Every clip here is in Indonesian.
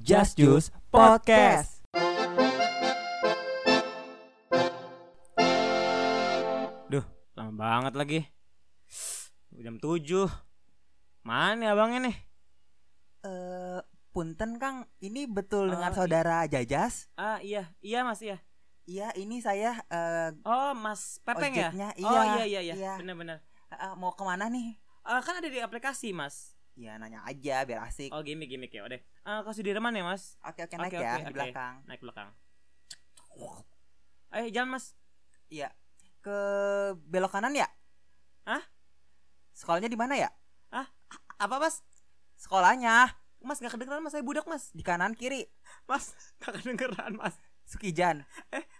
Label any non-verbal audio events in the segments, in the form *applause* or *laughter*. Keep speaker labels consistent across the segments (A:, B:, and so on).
A: Just Juice Podcast. Duh, lama banget lagi. Jam 7. Mana ya, nih abangnya nih?
B: Eh, punten Kang, ini betul
A: Ah,
B: dengan
A: i-
B: saudara Jajas?
A: Ah, iya, iya Mas iya.
B: Iya, ini saya eh,
A: Oh, Mas Pepeng ya?
B: Ojeknya,
A: Oh,
B: iya,
A: iya iya iya.
B: iya.
A: Benar-benar.
B: eh, mau kemana nih?
A: Ah, kan ada di aplikasi, Mas.
B: Ya nanya aja biar asik.
A: Oh, gimmick-gimmick ya, udah. Ah, ke Sudirman ya, Mas?
B: Oke oke
A: oke,
B: naik
A: oke,
B: ya di
A: oke.
B: belakang.
A: Naik belakang. Ayo, jalan, Mas.
B: Iya. Ke belok kanan ya?
A: Hah?
B: Sekolahnya di mana ya?
A: Apa, Mas?
B: Sekolahnya
A: Mas nggak kedengeran, Mas. Saya budak, Mas.
B: di kanan kiri.
A: Mas, *laughs* gak kedengeran, Mas.
B: Sukijan.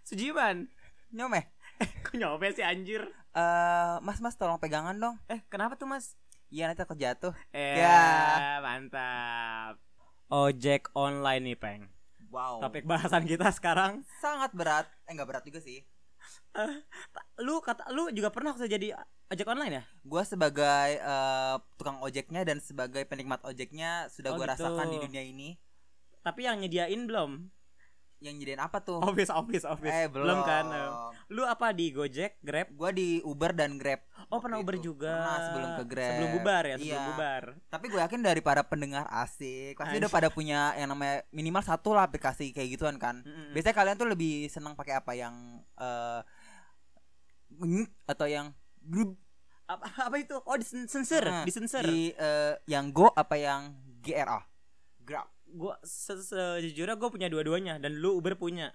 A: Sujiman.
B: Nyomeh.
A: Kok nyopet sih anjir?
B: Eh, mas mas tolong pegangan dong.
A: Eh, kenapa tuh, Mas?
B: Iya nanti aku jatuh.
A: Eh,
B: Ya.
A: mantap. Ojek online nih, Peng.
B: Wow.
A: Topik bahasan kita sekarang.
B: sangat berat. Eh nggak berat juga sih.
A: Lu kata lu juga pernah kerja jadi ojek online ya?
B: Gua sebagai eh, tukang ojeknya dan sebagai penikmat ojeknya
A: Oh,
B: sudah gua
A: gitu.
B: rasakan di dunia ini.
A: Tapi yang nyediain belum?
B: Yang nyediain apa tuh?
A: Office, office, office.
B: Oh. eh
A: Oh,
B: belum.
A: kan. eh. Lu apa di Gojek, Grab?
B: Gua di Uber dan Grab.
A: Oh, pernah
B: Waktu
A: Uber
B: itu.
A: juga.
B: Pernah, sebelum ke Grab.
A: Sebelum bubar ya, sebelum
B: Iya.
A: bubar.
B: Tapi gue yakin dari para pendengar asik pasti udah pada punya yang namanya minimal satu lah aplikasi kayak gituan kan.
A: Mm-mm.
B: Biasanya kalian tuh lebih senang pakai apa yang eh ngik atau yang grup
A: Apa, apa itu? Oh, disensor,
B: Ah,
A: disensor.
B: di eh, yang go apa yang GRA? Grab.
A: Gua se- sejujurnya gue punya dua-duanya dan lu Uber punya.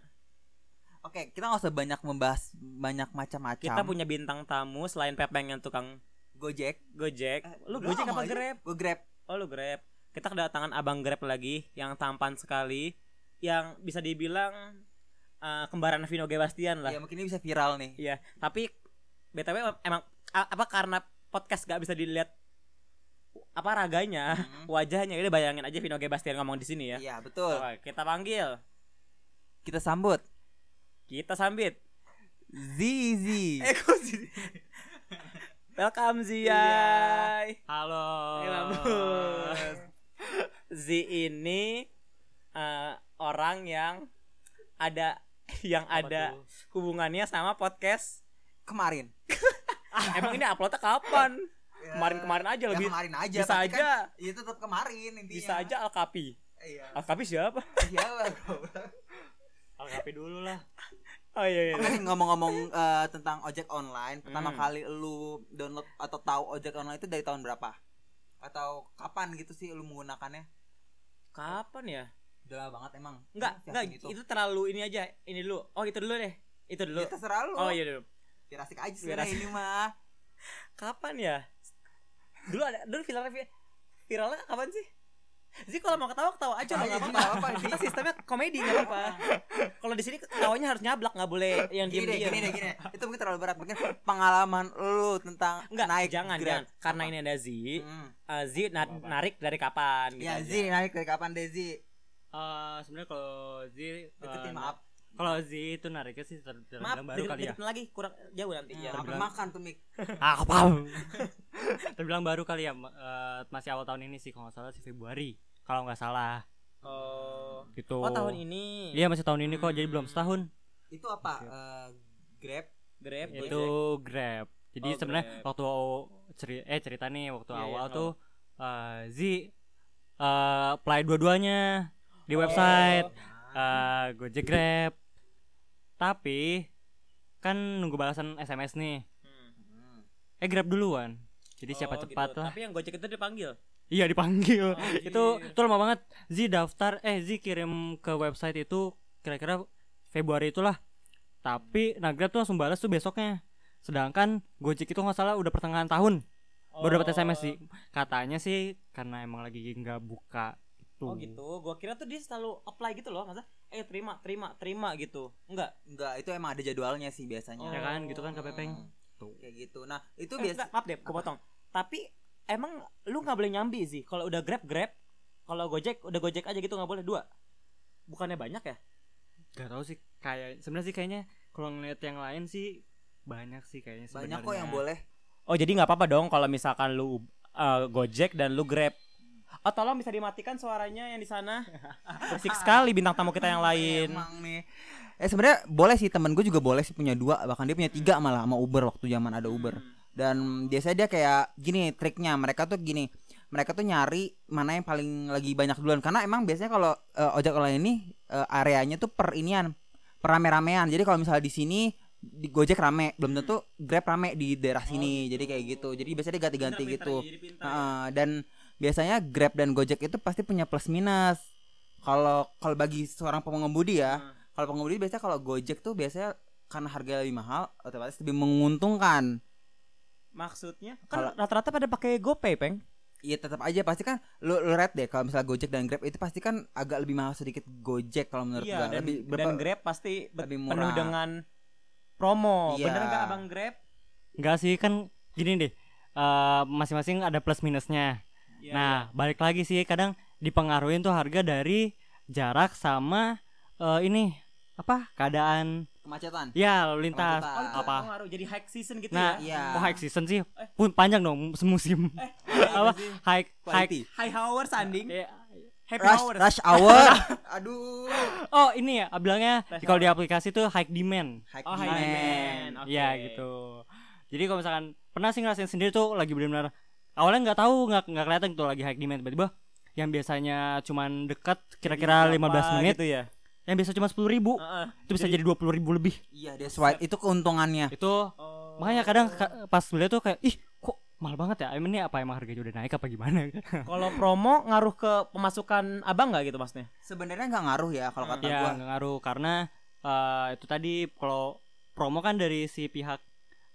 B: Oke, kita nggak usah banyak membahas banyak macam-macam.
A: Kita punya bintang tamu selain Pepeng yang tukang
B: Gojek.
A: Gojek.
B: Eh,
A: lu
B: Grab
A: Gojek apa
B: aja.
A: Grab?
B: Gua Grab.
A: Oh, lu Grab. Kita kedatangan Abang Grab lagi yang tampan sekali, yang bisa dibilang eh, kembaran Vino Gebastian lah.
B: Ya mungkin ini bisa viral nih.
A: Iya, tapi BTW emang a- apa karena podcast gak bisa dilihat apa raganya, *laughs*
B: Hmm.
A: wajahnya. ya Udah bayangin aja Vino Gebastian ngomong di sini ya.
B: Iya, betul.
A: Oke, kita panggil.
B: Kita sambut
A: Kita sambit.
B: Zizi.
A: *laughs* Eh, kok sih? Welcome Zia. Iya.
C: Halo.
A: Hai, Mabus. Zi ini eh, orang yang ada yang
C: Apa
A: ada
C: tuh?
A: hubungannya sama podcast.
B: Kemarin.
A: Emang ini uploadnya kapan? Kemarin-kemarin aja
B: Ya,
A: lebih.
B: kemarin aja.
A: bisa
B: pasti
A: aja,
B: kan- Iya tetap kemarin intinya.
A: bisa aja Ah. Al Kapi.
B: Iya.
A: Al Kapi siapa?
B: *laughs* Iya. goblok.
C: Lengkapi dulu lah.
A: Oh iya iya.
B: Oke, ngomong-ngomong eh, tentang ojek online, pertama
A: Hmm.
B: kali lu download atau tahu ojek online itu dari tahun berapa? Atau kapan gitu sih lu menggunakannya?
A: Kapan ya?
B: Udah lama banget emang.
A: Enggak,
B: Emang
A: enggak
B: siapin
A: itu. terlalu ini aja. Ini dulu. Oh, itu dulu deh. Itu
B: Ya,
A: dulu.
B: terserah lu.
A: Oh iya dulu.
B: Biar asik aja
A: Biar
B: sebenarnya
A: asik.
B: ini mah.
A: Kapan ya? Dulu ada dulu viralnya vi- viralnya kapan sih? Jadi kalau mau ketawa ketawa aja
B: Oh,
A: nggak
B: iya,
A: apa-apa.
B: nggak apa-apa,
A: Kita sistemnya komedi nggak apa-apa. Kalau di sini ketawanya harus nyablak nggak boleh yang
B: Gini deh,
A: diem-diem.
B: gini deh, gini. deh. Itu mungkin terlalu berat. Mungkin pengalaman lu tentang
A: Enggak,
B: naik
A: jangan,
B: Grab.
A: jangan. Karena
B: Apa?
A: ini ada Zi,
B: Hmm.
A: eh, Zi na-
C: Apa-apa.
A: narik dari kapan gitu
B: Ya,
A: aja.
B: Zi naik dari kapan deh, Zi?
C: Eh, sebenarnya kalau Z eh, nah,
B: Deketin, maaf.
C: Kalau Z itu nariknya sih ter
A: Maaf,
C: terbilang baru kali ya.
A: deketin lagi kurang jauh nanti ya.
B: Hmm, apa
C: terbilang-
B: makan tuh, Mik?
C: Apa? *laughs* terbilang baru kali ya ma- eh, masih awal tahun ini sih kalau nggak salah sih Februari kalau nggak salah
A: Oh.
C: gitu.
A: Oh, tahun ini.
C: Iya masih tahun ini kok jadi belum setahun.
B: Itu apa?
C: Oke.
B: Eh, Grab?
A: Grab
B: Gojek.
C: Itu Grab. Jadi
A: Oh,
C: sebenarnya
A: Grab.
C: waktu ceri eh cerita nih waktu
A: Iya, iya,
C: awal
A: nggak
C: tuh eh, Z eh, apply dua-duanya di
A: Oh.
C: website.
A: Iya.
C: eh Gojek Grab. Tapi kan nunggu balasan SMS nih.
A: Hmm.
B: Hmm.
C: Eh Grab duluan. Jadi siapa
A: Oh,
C: cepat
A: gitu. Oh.
C: lah.
A: Tapi yang Gojek itu
C: *laughs*
A: dipanggil.
C: Iya dipanggil.
A: Anjir.
C: itu itu lama banget. Zi daftar eh Zi kirim ke website itu kira-kira Februari itulah. Tapi nah Grab tuh langsung balas tuh besoknya. Sedangkan Gojek itu nggak salah udah pertengahan tahun baru dapat SMS sih. Katanya sih karena emang lagi nggak buka gitu.
A: Oh gitu. Gua kira tuh dia selalu apply gitu loh, masa eh terima, terima, terima gitu. Enggak.
B: Enggak, itu emang ada jadwalnya sih biasanya.
A: Iya
C: Ya kan gitu kan Kak
B: Hmm,
C: Pepeng.
B: Kayak gitu. Nah, itu
A: Eh,
B: biasa
A: enggak, maaf deh, gua potong. Tapi emang lu nggak boleh nyambi sih. Kalau udah Grab, Grab. Kalau Gojek, udah Gojek aja gitu nggak boleh dua. Bukannya banyak ya?
C: Gak tau sih kayak sebenarnya sih kayaknya kalau ngeliat yang lain sih banyak sih kayaknya
B: banyak
C: sebenarnya.
B: kok yang boleh.
A: Oh, jadi nggak apa-apa dong kalau misalkan lu Gojek eh, dan lu Grab. Oh tolong bisa dimatikan suaranya yang di *laughs* sana. Berisik sekali bintang tamu kita yang lain.
B: Emang nih. Eh sebenarnya boleh sih temen gue juga boleh sih punya dua bahkan dia punya tiga malah sama Uber waktu zaman ada Uber. Dan biasanya dia kayak gini triknya mereka tuh gini mereka tuh nyari mana yang paling lagi banyak duluan karena emang biasanya kalau eh, ojek online ini eh, areanya tuh per inian per rame-ramean jadi kalau misalnya di sini di Gojek rame belum tentu Grab rame di daerah sini jadi kayak gitu jadi biasanya dia ganti-ganti gitu
A: Iya,
B: Heeh, dan biasanya Grab dan Gojek itu pasti punya plus minus. Kalau kalau bagi seorang pengemudi ya, kalau pengemudi biasanya kalau Gojek tuh biasanya karena harga lebih mahal otomatis lebih menguntungkan.
A: Maksudnya kan rata-rata pada pakai GoPay, Peng.
B: Iya tetap aja pasti kan lu, lu rate deh kalau misalnya Gojek dan Grab itu pasti kan agak lebih mahal sedikit Gojek kalau menurut gua.
A: Iya, dan,
B: lebih berapa-
A: dan Grab pasti be-
B: lebih
A: penuh
B: murah.
A: dengan promo.
B: Iya.
A: Bener nggak Abang Grab?
C: Enggak sih kan gini deh. eh, masing-masing ada plus minusnya.
A: Iya,
C: nah, balik lagi sih kadang dipengaruhin tuh harga dari jarak sama eh, ini apa? keadaan
B: kemacetan.
C: ya lalu lintas
A: Oh,
B: Kemacetan.
A: itu
C: apa.
A: pengaruh jadi high season gitu
C: Nah,
A: ya.
B: Iya.
C: Oh, high season sih. Pun panjang dong semusim. *laughs* apa? High high
B: Quality.
A: High hours anding.
C: eh,
A: Happy
B: Rush,
A: hours.
B: rush
A: *laughs*
B: hour. Aduh.
C: Oh, ini ya bilangnya kalau di aplikasi tuh high demand.
B: High
A: Oh, high
B: demand.
A: demand. Oke.
C: Iya gitu. Jadi kalau misalkan pernah sih ngerasain sendiri tuh lagi benar-benar awalnya nggak tahu nggak nggak kelihatan tuh lagi high demand tiba-tiba yang biasanya cuman dekat kira-kira 15 menit
A: gitu ya.
C: yang biasa cuma 10.000 ribu
A: Heeh.
C: itu bisa jadi 20.000 ribu lebih
B: Iya, that's why itu keuntungannya.
C: itu
A: Oh.
C: makanya kadang ka- pas beli tuh kayak ih kok mahal banget ya Emang ini apa emang harganya udah naik apa gimana *laughs*
A: Kalau promo ngaruh ke pemasukan Abang nggak gitu maksudnya?
B: Sebenarnya nggak ngaruh ya kalau kata
A: Iya.
C: ya
B: gua.
C: nggak ngaruh karena eh, itu tadi kalau promo kan dari si pihak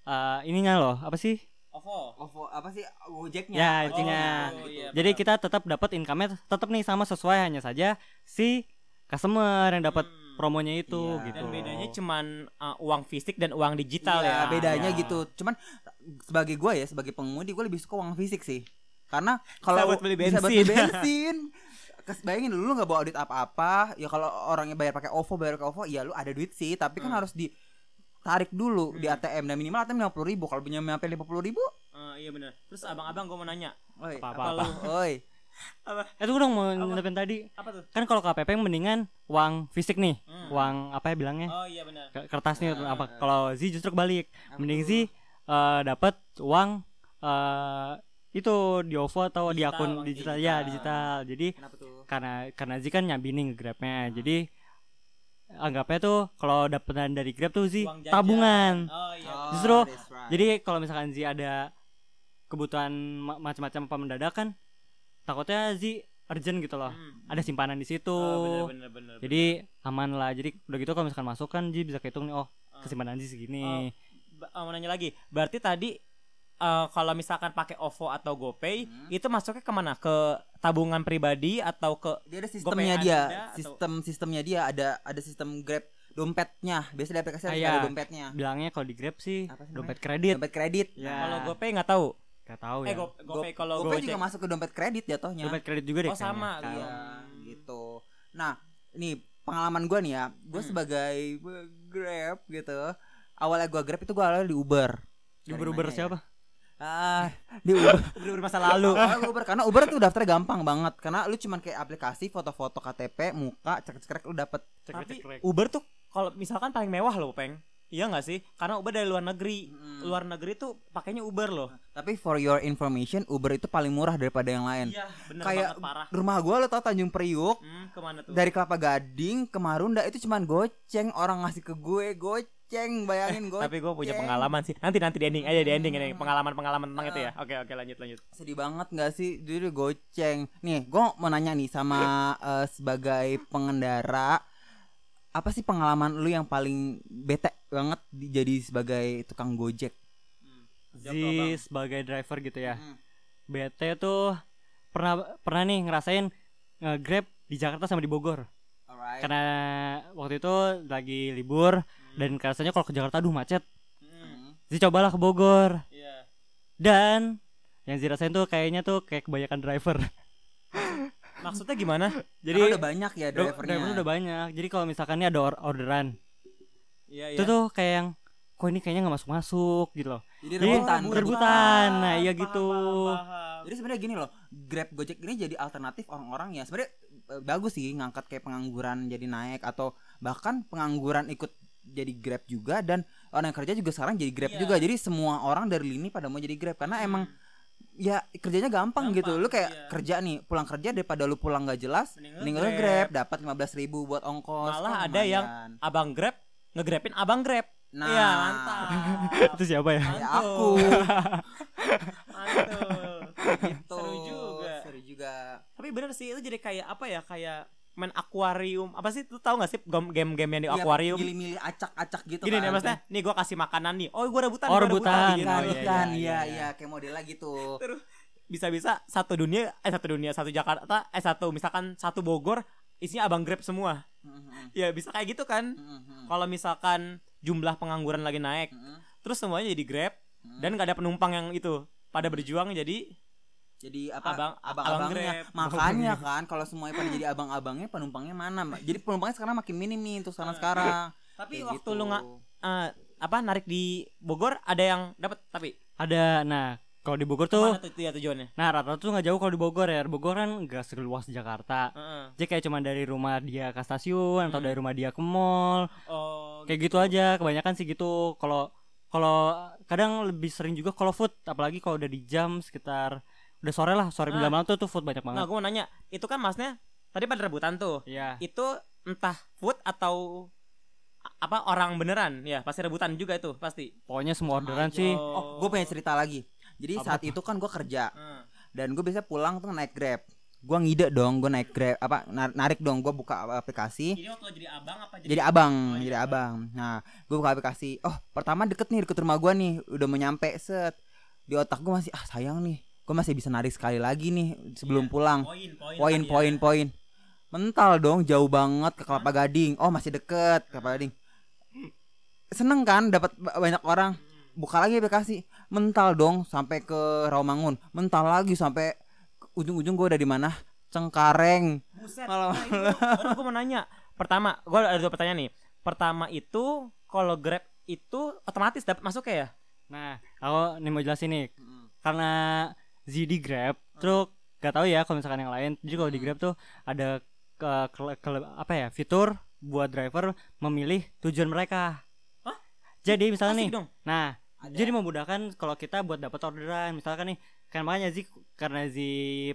C: eh, ininya loh apa sih
A: OVO.
B: Ovo- apa sih Gojeknya? gitu.
C: Ya,
B: Ojeknya.
C: intinya.
A: Oh, iya,
C: Jadi kita tetap dapat income-nya tetap nih sama sesuai hanya saja si customer yang dapat
A: Hmm.
C: promonya itu
B: Iya.
C: gitu.
A: Dan bedanya cuman uh, uang fisik dan uang digital ya.
B: Iya, bedanya
C: Iya.
B: gitu. Cuman sebagai gua ya, sebagai pengemudi gua lebih suka uang fisik sih. Karena
A: Bisa
B: kalau
A: buat beli
B: bisa
A: bensin.
B: bensin. Kes bayangin lu nggak bawa duit apa-apa, ya kalau orangnya bayar pakai OVO, bayar pakai OVO, ya lu ada duit sih, tapi kan harus di tarik dulu di ATM dan minimal ATM 50 ribu kalau punya sampai 50 ribu
A: Eh, iya benar. Terus abang-abang gue mau nanya.
B: oi
C: Apa-apa.
B: *laughs* lu, oi
C: Eh tunggu dong mau nyelipin tadi.
A: Apa tuh?
C: Kan kalau KPP yang mendingan uang fisik nih,
A: Hmm.
C: uang apa ya bilangnya?
A: Oh iya benar.
C: Ke- Kertas nih atau apa? Kalau Z justru kebalik. Mending Z eh, dapat uang eh, itu di OVO atau di
A: Digital,
C: akun
A: uang
C: digital,
A: digital.
C: ya digital. Jadi
B: kenapa tuh
C: karena karena Z kan nyambinin ke
A: Nah.
C: Grabnya jadi anggapnya tuh kalau dapetan dari Grab tuh Z
A: Uang jajan.
C: tabungan
A: Oh iya.
B: Oh,
C: Justru,
B: that's right.
C: jadi kalau misalkan Z ada kebutuhan ma- macam-macam apa mendadak kan takutnya Z urgent gitu loh
A: Hmm.
C: ada simpanan di situ
A: Oh, benar benar benar.
C: jadi aman lah jadi udah gitu kalau misalkan masuk kan Z bisa kehitung nih oh kesimpanan Z
A: Oh.
C: segini
A: Ba- eh, mau nanya lagi. Berarti tadi eh, kalau misalkan pakai OVO atau GoPay
B: Hmm.
A: itu masuknya kemana? Ke tabungan pribadi atau ke
B: dia ada sistemnya dia
A: Anda atau-
B: sistem sistemnya dia ada ada sistem grab dompetnya biasanya di aplikasi
C: Ah,
B: harus
C: iya.
B: ada dompetnya
C: bilangnya kalau di Grab sih
B: Apa sih
C: dompet kredit
B: dompet kredit
C: Ya.
A: kalau GoPay nggak tahu?
C: gak tahu
A: Eh
C: ya
A: Go-
B: Go-
A: GoPay kalau
B: GoPay
A: Gojek.
B: juga masuk ke dompet kredit jatuhnya
C: dompet kredit juga deh
A: Oh, sama,
C: kayaknya.
B: iya
A: Hmm.
B: gitu nah ini pengalaman gua nih ya gua
A: Hmm.
B: sebagai eh, grab gitu awalnya gua grab itu gua awalnya di uber Dari
C: Di Uber-Uber
B: mana ya?
C: siapa
B: ah di
C: *laughs*
B: uber
A: Bener-bener masa lalu.
B: *laughs* Awalnya Uber karena Uber tuh daftar gampang banget karena lu cuman kayak aplikasi foto-foto KTP muka cekrek-cekrek lu dapet
A: Tapi
C: Cekrek-cekrek.
A: Uber tuh kalau misalkan paling mewah loh, Peng. Iya nggak sih? Karena Uber dari luar negeri.
B: Mm.
A: Luar negeri tuh pakainya Uber loh.
B: tapi for your information Uber itu paling murah daripada yang lain
A: Iya, bener
B: kayak
A: banget parah.
B: rumah gua lo tau Tanjung Priuk
A: Hmm, kemana tuh?
B: dari Kelapa Gading ke Marunda itu cuman goceng orang ngasih ke gue goceng bayangin goceng
A: Tapi gue punya pengalaman sih. Nanti nanti di ending aja di ending ini pengalaman-pengalaman tentang itu ya. Oke oke lanjut lanjut.
B: sedih banget nggak sih dulu goceng nih gue mau nanya nih sama eh, sebagai pengendara apa sih pengalaman lu yang paling bete banget di- jadi sebagai tukang gojek Hmm,
A: Jawab dong, Bang.
C: Zee sebagai driver gitu ya. BT tuh pernah pernah nih ngerasain nge-grab di Jakarta sama di Bogor.
B: Alright.
C: Karena waktu itu lagi libur
A: Hmm,
C: dan rasanya kalau ke Jakarta aduh macet.
B: Hmm.
C: Zee cobalah ke Bogor
A: Iya.
C: dan yang Zee rasain tuh kayaknya tuh kayak kebanyakan driver.
A: Maksudnya gimana?
B: Jadi
C: Jadi
B: udah banyak ya
C: do-
B: drivernya.
C: driver udah banyak. Jadi kalau misalkan nih ada or- orderan,
A: *laughs* Iya
C: itu tuh kayak yang kok ini kayaknya nggak masuk-masuk gitu loh.
B: Jadi
C: Jadi
B: rebutan.
C: rebutan. Nah, iya gitu.
A: Paham, paham, paham.
B: Jadi sebenarnya gini loh, Grab Gojek ini jadi alternatif orang-orang ya. Sebenarnya eh, bagus sih ngangkat kayak pengangguran jadi naik atau bahkan pengangguran ikut jadi Grab juga dan orang yang kerja juga sekarang jadi Grab
A: Iya.
B: juga. Jadi semua orang dari lini pada mau jadi Grab karena emang ya kerjanya gampang,
A: Hmm. Gampang,
B: gitu. Lu kayak
A: iya.
B: kerja nih, pulang kerja daripada lu pulang gak jelas,
A: Mending lu
B: mending lu
A: Grab.
B: Grab dapat 15.000 ribu buat ongkos.
A: Malah
B: kan
A: ada yang
B: lumayan.
A: abang grab ngegrabin abang grab
B: Nah.
A: Iya, *laughs* mantap
C: itu siapa ya
B: Ya,
A: Mantul.
B: aku
A: *laughs* Mantul.
B: gitu.
A: Seru juga.
B: Seru juga.
A: tapi bener sih itu jadi kayak apa ya kayak main akuarium apa sih lu tahu nggak sih gam- game-game yang di
B: Iya,
A: akuarium
B: milih-milih acak-acak gitu
A: gini
B: kan.
A: nih maksudnya nih gue kasih makanan nih oh gue rebutan
C: Oh,
A: gua
C: rebutan.
A: gitu.
B: kan
C: Oh, iya,
B: kan ya
C: iya, iya.
B: ya kayak modelnya gitu
A: bisa-bisa satu dunia eh satu dunia satu Jakarta eh satu misalkan satu Bogor isinya abang grab semua ya bisa kayak gitu kan kalau misalkan jumlah pengangguran lagi naik terus semuanya jadi grab
B: Hmm.
A: dan gak ada penumpang yang itu pada berjuang jadi
B: jadi apa
A: Abang-
B: abang
A: abang
B: abang
A: Iya.
B: abangnya
A: grab.
B: makanya kan kalau semuanya pada jadi abang abangnya penumpangnya mana Mbak? jadi penumpangnya sekarang makin minim nih untuk sekarang sekarang
A: *laughs*
B: gitu.
A: tapi waktu lu nggak eh, apa narik di Bogor ada yang dapat tapi
C: ada nah kalau di Bogor
A: tuh
C: tuh
A: tuh ya tujuannya
C: nah rata-rata tuh nggak jauh kalau di Bogor ya Bogor kan nggak seluas Jakarta
A: Heeh.
C: jadi kayak cuma dari rumah dia ke stasiun atau dari rumah dia ke mall
A: Hmm. oh
C: kayak gitu aja kebanyakan sih gitu kalau kalau kadang lebih sering juga kalau food apalagi kalau udah di jam sekitar udah sore lah sore
A: Nah.
C: bilang malam tuh tuh food banyak
A: nah gue
C: banget
A: mau nanya itu kan masnya tadi pada rebutan tuh
C: Iya
A: itu entah food atau a- apa orang beneran ya pasti rebutan juga itu pasti
C: pokoknya semua orderan
A: Nah,
C: sih
B: oh gue punya cerita lagi jadi
C: Apa
B: saat itu kan gue kerja dan gue biasa pulang tuh naik grab gue ngide dong gue naik grab apa nar- narik dong gue buka aplikasi
A: ini waktu jadi abang apa
B: jadi abang jadi abang nah gue buka aplikasi oh pertama deket nih deket rumah gua nih udah mau nyampe set di otak gue masih ah sayang nih gue masih bisa narik sekali lagi nih sebelum pulang
A: Iya. poin ya. poin
B: poin poin poin mental dong jauh banget ke kelapa gading oh masih deket kelapa gading seneng kan dapat ba- banyak orang buka lagi aplikasi mental dong sampai ke Rawamangun mental lagi sampai ke- ujung-ujung gue udah di mana Cengkareng
A: Buset.
B: Malam-
A: gue iya. mau nanya. Pertama, gue ada dua pertanyaan nih. Pertama itu kalau Grab itu otomatis dapat masuk ya?
C: nah aku nih mau jelasin nih
A: Hmm.
C: karena Zidi Grab terus gak tahu ya kalau misalkan yang lain jadi kalau
A: Hmm.
C: di Grab tuh ada ke- kele- kele- apa ya fitur buat driver memilih tujuan mereka
A: Hah?
C: jadi misalnya
A: Asik
C: nih
A: dong. Iya.
C: Nah, jadi memudahkan kalau kita buat dapat orderan, misalkan nih, kan makanya Zi karena Zi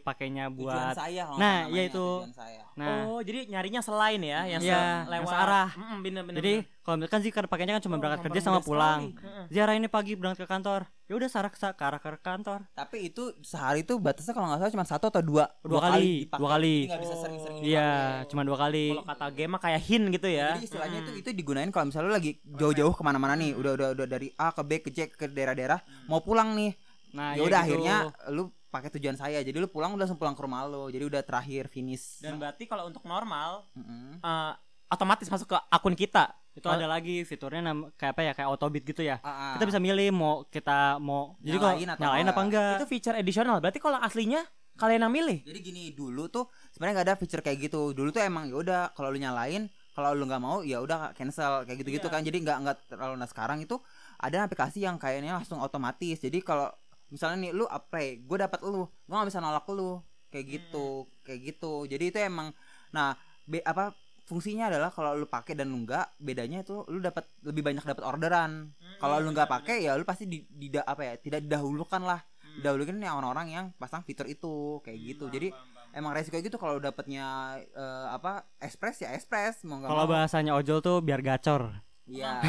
C: pakainya
B: Tujuan
C: buat
B: saya kalau
C: Nah,
B: namanya,
C: iya itu.
B: tujuan saya.
C: nah.
A: Oh, jadi nyarinya selain ya yang se-
C: Iya, yang
A: lewat
C: searah.
A: Mm, bener, bener,
C: jadi
A: bener.
C: kalau misalkan Zi karena pakainya kan cuma
A: Oh,
C: berangkat kerja
A: gampang
C: sama
A: sekali.
C: pulang.
A: Heeh.
C: Zi hari ini pagi berangkat ke kantor. Ya udah sarah ke, ke arah ke kantor.
B: Tapi itu sehari itu batasnya kalau nggak salah cuma satu atau dua
C: Dua kali,
B: dipakai.
C: dua kali.
B: Jadi nggak bisa sering-sering
C: Iya,
B: dipakai.
C: cuma dua kali.
A: Oh, Kalau kata game mah kayak hint gitu ya.
B: Jadi istilahnya
C: Hmm.
B: itu itu digunain kalau misalnya lu lagi jauh-jauh kemana-mana nih, udah udah udah dari A ke B ke C ke daerah-daerah mau pulang nih.
C: Hmm. Nah,
B: ya udah
C: gitu.
B: akhirnya lu pakai tujuan saya. Jadi lu pulang udah langsung pulang ke rumah lu. Jadi udah terakhir finish.
A: Dan berarti kalau untuk normal
B: Mm-mm.
A: eh, otomatis masuk ke akun kita.
B: Oh,
C: itu ada lagi fiturnya nam- kayak apa ya? Kayak autobit gitu ya.
B: Ah, ah.
C: Kita bisa milih mau kita mau jadi kalau
B: Nyalain atau
C: nyalain apa
B: enggak.
C: enggak.
A: Itu feature additional. Berarti kalau aslinya kalian yang milih.
B: Jadi gini dulu tuh sebenarnya nggak ada feature kayak gitu. Dulu tuh emang ya udah kalau lu nyalain, kalau lu nggak mau ya udah cancel kayak gitu-gitu kan. Jadi nggak nggak terlalu nah sekarang itu ada aplikasi yang kayaknya langsung otomatis. Jadi kalau misalnya nih lu apply, gue dapat lu, gue nggak bisa nolak lu kayak gitu, kayak gitu. Jadi itu emang nah be, apa fungsinya adalah kalau lu pakai dan lu nggak bedanya itu lu dapat lebih banyak dapat orderan. Hmm.
A: Hmm,
B: Kalau lu nggak pakai ya lu pasti di, dida- apa ya tidak didahulukan lah
A: Hmm.
B: dahulukan yang orang-orang yang pasang fitur itu kayak gitu jadi emang resiko gitu kalau dapatnya eh, apa express ya express mau nggak
C: Kalau
B: mau
C: bahasanya ojol tuh biar gacor. *laughs*
B: iya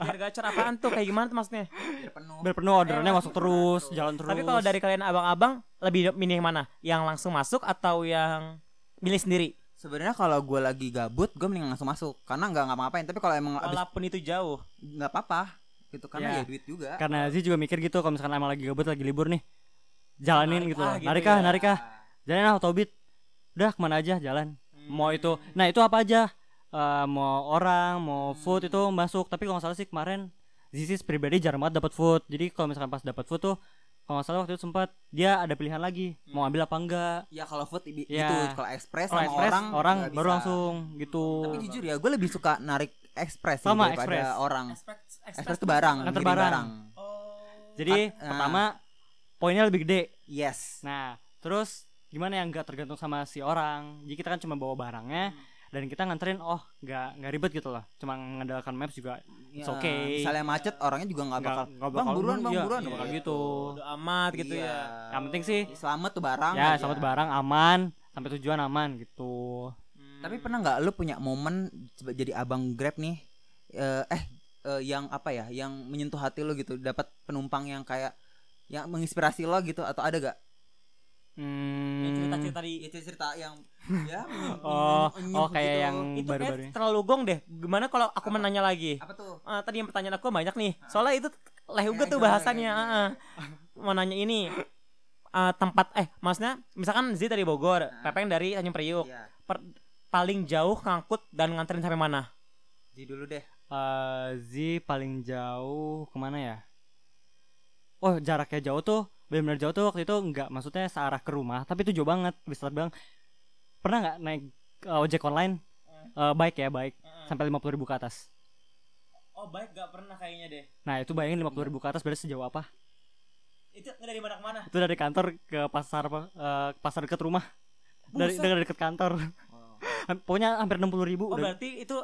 A: Biar gacor apaan tuh kayak gimana tuh maksudnya?
B: biar penuh
C: Biar penuh orderannya masuk terus, jalan terus.
A: Tapi kalau dari kalian abang-abang lebih milih yang mana? Yang langsung masuk atau yang milih sendiri?
B: sebenarnya kalau gue lagi gabut gue mending langsung masuk karena nggak ngapa-ngapain tapi kalau emang abis
A: Walaupun itu jauh.
B: nggak apa-apa gitu karena
C: Iya.
B: ya duit juga
C: karena Aziz juga mikir gitu kalau misalkan emang lagi gabut lagi libur nih jalanin
A: Narik
C: gitu
A: ah,
C: loh
A: gitu
C: narik ah
B: Iya.
A: ya.
C: narik ah jalanin ah autobit udah kemana aja jalan
B: Hmm.
C: mau itu nah itu apa aja Eh, mau orang mau food itu masuk tapi kalau nggak salah sih kemarin Zizis pribadi jarang banget dapat food jadi kalau misalkan pas dapat food tuh kalau nggak salah waktu itu sempat dia ada pilihan lagi mau ambil apa enggak
B: ya kalau food i-
C: Iya.
B: itu kalau express
C: kalau
B: sama
C: express
B: orang
C: orang,
B: nggak
C: baru
B: bisa.
C: langsung gitu
B: tapi jujur ya gue lebih suka narik express sih
C: Sama,
B: daripada
C: express.
B: orang
A: Aspek-
B: express tuh barang
C: Nganter
B: ngirim
C: barang.
A: Oh.
C: jadi
B: Ah.
C: pertama poinnya lebih gede
B: Yes.
C: Nah, terus gimana yang nggak tergantung sama si orang? Jadi kita kan cuma bawa
B: Hmm.
C: barangnya dan kita nganterin, oh nggak nggak ribet gitu loh. Cuma mengandalkan maps juga. It's
B: Ya,
C: okay.
B: Misalnya macet orangnya juga nggak
C: Nggak-
B: bakal,
C: nggak
B: Bang
C: bakal-
B: buruan, Bang
C: iya,
B: buruan.
C: nggak bakal
B: Iya.
C: gitu.
A: Bodo amat gitu
B: Iya.
A: ya.
C: Yang penting sih,
B: Selamat tuh barang. Iya.
C: ya
B: aja.
C: selamat barang aman sampai tujuan aman gitu.
A: Hmm.
B: Tapi pernah nggak lu punya momen seba- jadi abang Grab nih eh eh eh, yang apa ya, yang menyentuh hati lu gitu, dapat penumpang yang kayak yang menginspirasi lo gitu atau ada gak?
A: Ya,
C: Hmm.
A: cerita-cerita di
B: Iya, Itu cerita yang *laughs* ya gitu.
C: Oh, oh kayak yang
A: itu
C: baru-baru.
A: kayak terlalu gong deh. Gimana kalau aku
B: Apa?
A: menanya lagi?
B: apa tuh?
A: Ah, tadi yang pertanyaan aku banyak nih. Soalnya itu
C: Ya
A: leh juga
B: Eh,
A: tuh
B: gimana,
A: bahasannya.
B: gimana,
A: ah, ah. Mau nanya ini ah, tempat eh maksudnya misalkan Z dari Bogor, Pepeng dari Tanjung Priuk.
B: Iya,
A: Per- paling jauh ngangkut dan nganterin sampai mana?
B: di dulu deh.
C: Eh, Zi paling jauh kemana ya? Oh jaraknya jauh tuh benar-benar jauh tuh waktu itu nggak maksudnya searah ke rumah tapi itu jauh banget bisa bilang pernah nggak naik eh, ojek online Eh, baik ya baik sampai lima ribu ke atas
A: Ah. Oh, baik gak pernah kayaknya deh.
C: nah itu bayangin lima ribu ke atas berarti sejauh apa
A: Itu dari mana ke mana?
C: itu dari kantor ke pasar eh, ke pasar dekat rumah dari
A: Buset.
C: dari dekat kantor Ham- *laughs* pokoknya hampir enam puluh ribu
A: Oh, berarti itu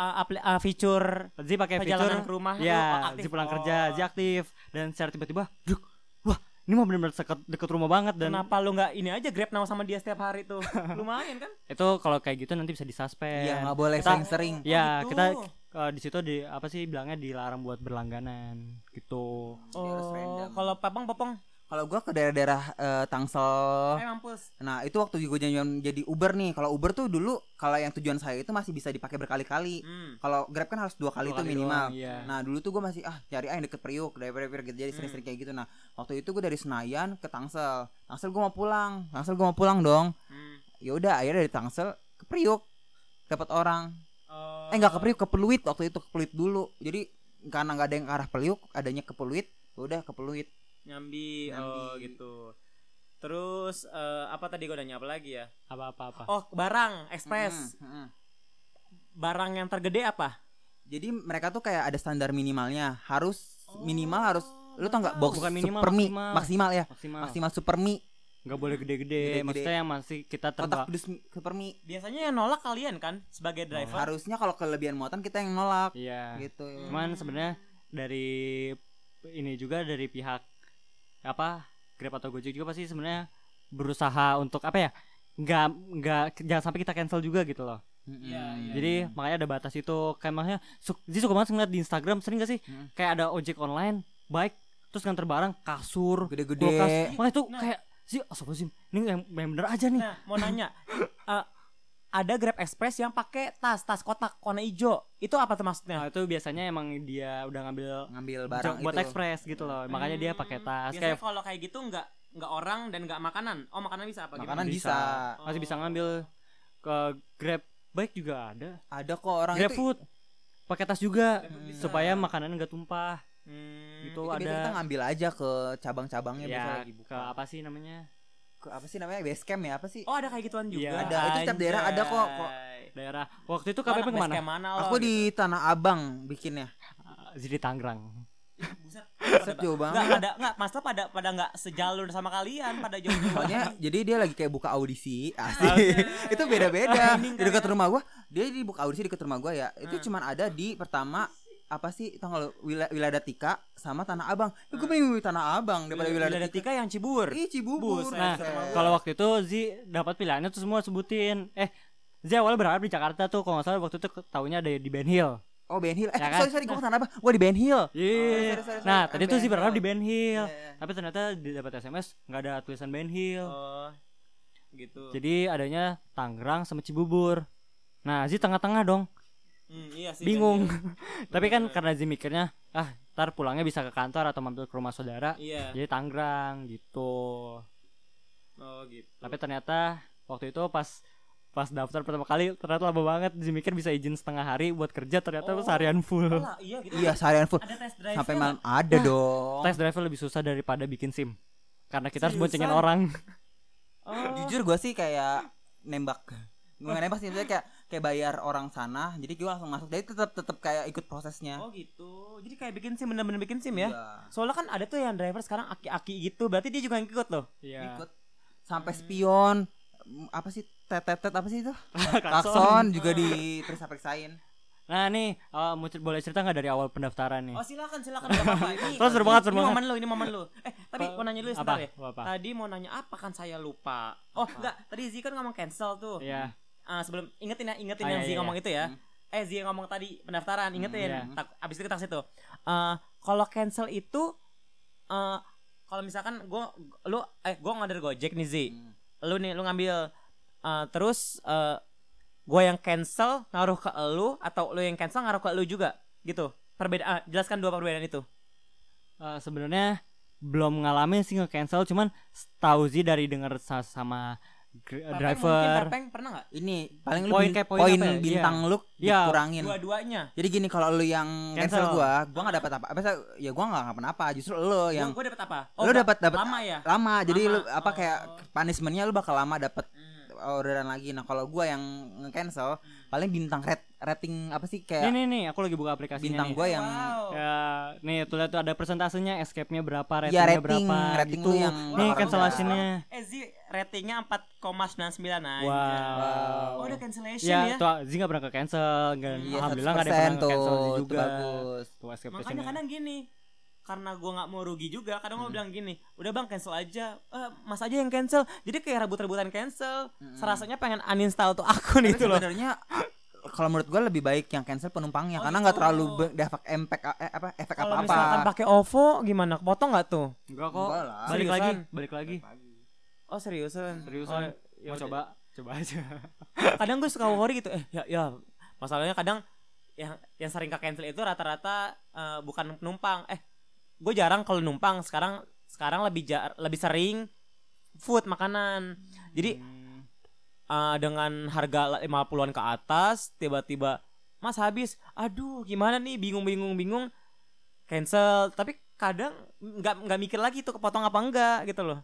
A: ah, apli- ah, fitur
C: Zi pakai fitur
A: perjalanan ke rumah lu, oh,
C: Ya,
A: aktif.
C: dia pulang
A: Oh.
C: kerja, dia aktif dan secara tiba-tiba, duk, wah, ini mah benar-benar deket, deket rumah banget dan
A: Kenapa lu nggak ini aja grab nama sama dia setiap hari
C: *laughs*
A: tuh? Lumayan kan?
C: itu kalau kayak gitu nanti bisa disuspend.
B: Iya, nggak boleh
C: Kita-
B: sering-sering.
C: Ya,
A: gitu.
C: kita eh, di situ di apa sih bilangnya dilarang buat berlangganan gitu.
B: Dia harus
A: Oh,
B: random.
A: kalau Pepeng Pepeng,
B: Kalau gua ke daerah-daerah eh,
C: Oh.
B: Tangsel,
A: eh mampus.
B: Nah itu waktu gue janjian jadi Uber nih Kalau Uber tuh dulu Kalau yang tujuan saya itu masih bisa dipakai berkali-kali
A: Hmm.
B: Kalau Grab kan harus dua kali
C: Dua
B: tuh
C: kali
B: minimal
C: doang, iya.
B: Nah dulu tuh gue masih Ah cari ah yang deket Priuk Driver-driver gitu Jadi sering-sering
C: Hmm.
B: kayak gitu Nah waktu itu gue dari Senayan ke Tangsel Tangsel gue mau pulang Tangsel gue mau pulang dong
A: Hmm.
B: ya udah akhirnya dari Tangsel ke Priuk Dapat orang
A: Oh.
B: Eh nggak ke Priuk ke Peluit Waktu itu ke Peluit dulu Jadi karena nggak ada yang ke arah Priuk Adanya ke Peluit ya udah ke Peluit
A: nyambi, oh
B: Nyambi.
A: gitu terus eh, apa tadi gue nanya apa lagi ya
C: Apa-apa apa.
A: oh barang ekspres
B: Mm-mm, mm-mm.
A: barang yang tergede apa
B: Jadi mereka tuh kayak ada standar minimalnya. Harus minimal harus lu tau nggak
A: baru
B: box
C: Oh, Bukan minimal,
B: super mie
C: maksimal. Ah.
B: maksimal. ya.
C: Maksimal.
B: Maksimal super mie.
C: Nggak boleh gede-gede,
B: Gede-gede.
C: maksudnya yang masih kita
B: Kotak
C: terba
B: pedus mie- super mie.
A: biasanya yang nolak kalian kan sebagai driver
B: Harusnya kalau kelebihan muatan kita yang nolak
C: Iya.
B: gitu.
C: Cuman sebenarnya dari ini juga dari pihak apa Grab atau Gojek juga pasti sebenarnya berusaha untuk apa ya? nggak nggak jangan sampai kita cancel juga gitu loh.
B: Mm-mm.
A: Iya, iya,
C: Jadi makanya ada batas itu kayak makanya su Ji suka banget ngeliat di Instagram sering gak sih
B: Hmm.
C: kayak ada ojek online baik terus nganter barang kasur
B: gede-gede.
C: kulkas makanya itu
A: Nah.
C: kayak sih astagfirullahaladzim ini yang, yang bener aja nih
A: nah mau nanya eh, ada grab express yang pakai tas tas kotak warna hijau itu apa tuh maksudnya
C: Nah, itu biasanya emang dia udah ngambil
B: Ngambil
C: jok
B: barang
C: buat
B: itu.
C: ekspres gitu loh
A: Hmm.
C: makanya dia pakai tas
A: biasanya
C: kayak
A: kalau kayak gitu nggak nggak orang dan nggak makanan oh makanan bisa apa gimana?
B: Makanan
A: Oh.
B: bisa.
C: masih bisa ngambil ke grab baik juga ada
B: Ada kok orang
C: grab
B: itu.
C: food pakai tas juga
A: Grab food bisa.
C: supaya makanan nggak tumpah
A: Hmm,
B: itu
C: gitu
B: biasanya kita
C: ada
B: ngambil aja ke cabang-cabangnya Iya, biasa
C: ya
B: lagi buka.
C: ke apa sih namanya
B: Ke apa sih namanya? Base camp ya apa sih?
A: oh ada kayak gituan juga
C: Iya,
B: ada. Itu setiap daerah ada kok, kok.
A: Anjay.
C: daerah waktu itu
A: Lo anak
C: KPP kemana
A: basecamp mana lo,
B: Aku
A: gitu?
B: di Tanah Abang bikinnya.
C: jadi Tangerang
A: Buset,
B: Set jauh
A: Nggak
B: banget.
A: pada nggak masa pada pada nggak sejalur sama kalian pada jauh *laughs*
B: Soalnya jadi dia lagi kayak buka audisi asik. *laughs* itu beda-beda di dekat rumah gua dia di buka audisi dekat rumah gua ya itu
A: Hmm.
B: cuman ada di pertama apa sih tanggal Wil Wiladatika sama Tanah Abang ya,
A: Hmm.
B: gue pengen Tanah Abang daripada
A: Iya,
B: Wiladatika
A: yang Cibur.
B: Ih Cibubur
A: Buset.
C: Nah,
A: Buset.
C: kalau waktu itu Zi dapat pilihannya tuh semua sebutin. Eh, Zi awalnya berharap di Jakarta tuh kalau nggak salah waktu itu ke- taunya ada di Ben Hill.
B: Oh Ben Hill Eh
C: Ya kan?
B: sorry sorry gue ke Tanah Abang Gue di Ben Hill
C: Iya.
B: sorry, sorry, sorry.
C: Nah,
B: Eh,
C: tadi tuh
B: Ben
C: Zi berharap
B: Hill.
C: di Ben Hill.
B: Iya, iya.
C: Tapi ternyata di- dapat SMS nggak ada tulisan Ben Hill.
A: Oh, gitu.
C: Jadi adanya Tangerang sama Cibubur. Nah, Zi tengah-tengah dong.
A: Hmm, iya sih,
C: Bingung.
A: Ben
C: *laughs* Tapi kan karena Zi mikirnya, ah, ntar pulangnya bisa ke kantor atau mampir ke rumah saudara.
A: Hill. *laughs* Iya.
C: Jadi Tangerang gitu.
A: Oh, gitu.
C: Tapi ternyata waktu itu pas pas daftar pertama kali ternyata lama banget Zi mikir bisa izin setengah hari buat kerja ternyata
A: Oh.
C: seharian full.
A: Oh lah, iya gitu.
B: Iya seharian full
A: Ada test drive.
B: Sampai malam ada
A: Nah. Oh.
B: dong
C: Tes driver lebih susah daripada bikin SIM. Karena kita harus boncengin
A: Seriusan?
C: orang.
A: Oh.
B: Jujur gue sih kayak nembak Gue nggak nembak sih maksudnya kayak kayak bayar orang sana jadi gue langsung masuk jadi tetap tetap kayak ikut prosesnya
A: Oh gitu. jadi kayak bikin sim bener-bener bikin sim ya.
B: Iya.
A: Soalnya kan ada tuh yang driver sekarang aki-aki gitu, berarti dia juga yang ikut loh.
C: Iya.
B: ikut sampai spion m- apa sih tetetet apa sih itu
C: *laughs* Klakson.
B: klakson juga diperiksa periksain
C: Nah nih, eh, mau cer- boleh cerita nggak dari awal pendaftaran nih?
A: Oh silakan silakan nggak apa-apa. Ini-
C: Terus seru banget, seru
A: ini
C: banget.
A: momen lu, ini momen lu. Eh, tapi
C: Apa-
A: mau nanya dulu
C: apa?
A: sebentar ya.
C: Apa?
A: Tadi mau nanya apa kan saya lupa. Oh, enggak, tadi Zi kan ngomong cancel tuh.
C: Iya.
A: Ah, sebelum ingetin ya, ingetin
C: Ah,
A: yang
C: iya,
A: Zi
C: iya.
A: ngomong itu ya. Eh, Zi yang ngomong tadi pendaftaran, ingetin.
C: iya.
A: Tak- abis itu kita kasih tuh. Eh, kalau cancel itu eh kalau misalkan gua lu eh gua ngorder Gojek nih Zi. Lu nih lu ngambil eh, terus eh gua yang cancel ngaruh ke lu atau lu yang cancel ngaruh ke lu juga gitu. Perbedaan jelaskan dua perbedaan itu.
C: Eh, Sebenarnya belum ngalamin sih nge-cancel, cuman tahu sih dari denger sa- sama gr-
A: Pepeng mungkin
C: driver.
A: Pepeng pernah nggak?
B: ini paling lu
C: Poin
B: bin-
C: kayak poin
B: poin,
C: apa ya?
B: bintang lu
C: Iya.
B: dikurangin
A: Dua-duanya.
B: jadi gini kalau lu yang
C: Cancel.
B: cancel, gua gua nggak dapat apa apa ya gua nggak ngapa-napa justru lu
A: Yang
B: yang
A: gue dapat apa?
B: lu
C: oh,
A: gua-
B: dapat dapat
A: lama ya.
B: lama jadi lu
A: Lama.
B: apa kayak
A: Oh.
B: punishmentnya lu bakal lama dapat
A: Hmm.
B: orderan lagi nah kalau gua yang nge-cancel paling bintang red rating apa sih
A: ya?
C: Nih
B: kayak
C: nih nih, aku lagi buka aplikasinya
B: bintang
C: nih.
B: gua yang
A: Wow.
C: Ya, nih tuh lihat tuh ada persentasenya escape-nya berapa,
B: Iya,
C: ratingnya
B: rating,
C: berapa
B: rating
C: gitu.
B: lu yang
C: nih
A: orang-orang
C: cancelationnya.
A: Eh Zi ratingnya 4,99
C: Wow.
A: anjing. Oh, udah cancellation
C: Ya,
A: ya.
C: tuh Zee nggak pernah ke cancel, nggak
B: Iya,
C: alhamdulillah nggak ada yang
B: 100%
C: pernah cancel
B: tuh, itu
C: juga.
B: bagus.
C: Tuh escape
A: Makanya
C: passionnya.
A: kadang gini. Karena gue nggak mau rugi juga, kadang gue
C: Hmm.
A: bilang gini, udah bang cancel aja, Eh, mas aja yang cancel. Jadi kayak rebut-rebutan cancel.
C: Hmm.
A: Serasanya pengen uninstall tuh akun
B: Tapi
A: gitu loh.
B: sebenarnya a- kalau menurut gue lebih baik yang cancel penumpangnya
A: Oh,
B: karena nggak
A: gitu.
B: terlalu be- dampak impact a- eh, apa efek
A: Kalau
B: apa-apa.
A: misalkan pakai OVO gimana? Potong nggak tuh?
C: Enggak kok.
B: Enggak lah.
C: Balik
A: Seriusan.
C: lagi, balik lagi.
A: Oh seriusan?
C: Seriusan. Ya coba, coba aja.
A: kadang gue suka worry gitu eh ya ya masalahnya kadang yang yang sering ke cancel itu rata-rata eh, bukan penumpang eh gue jarang kalau numpang sekarang sekarang lebih jar lebih sering food makanan jadi
B: Hmm.
A: eh, dengan harga 50-an ke atas tiba-tiba mas habis aduh gimana nih bingung bingung bingung cancel tapi kadang nggak nggak mikir lagi tuh kepotong apa enggak gitu loh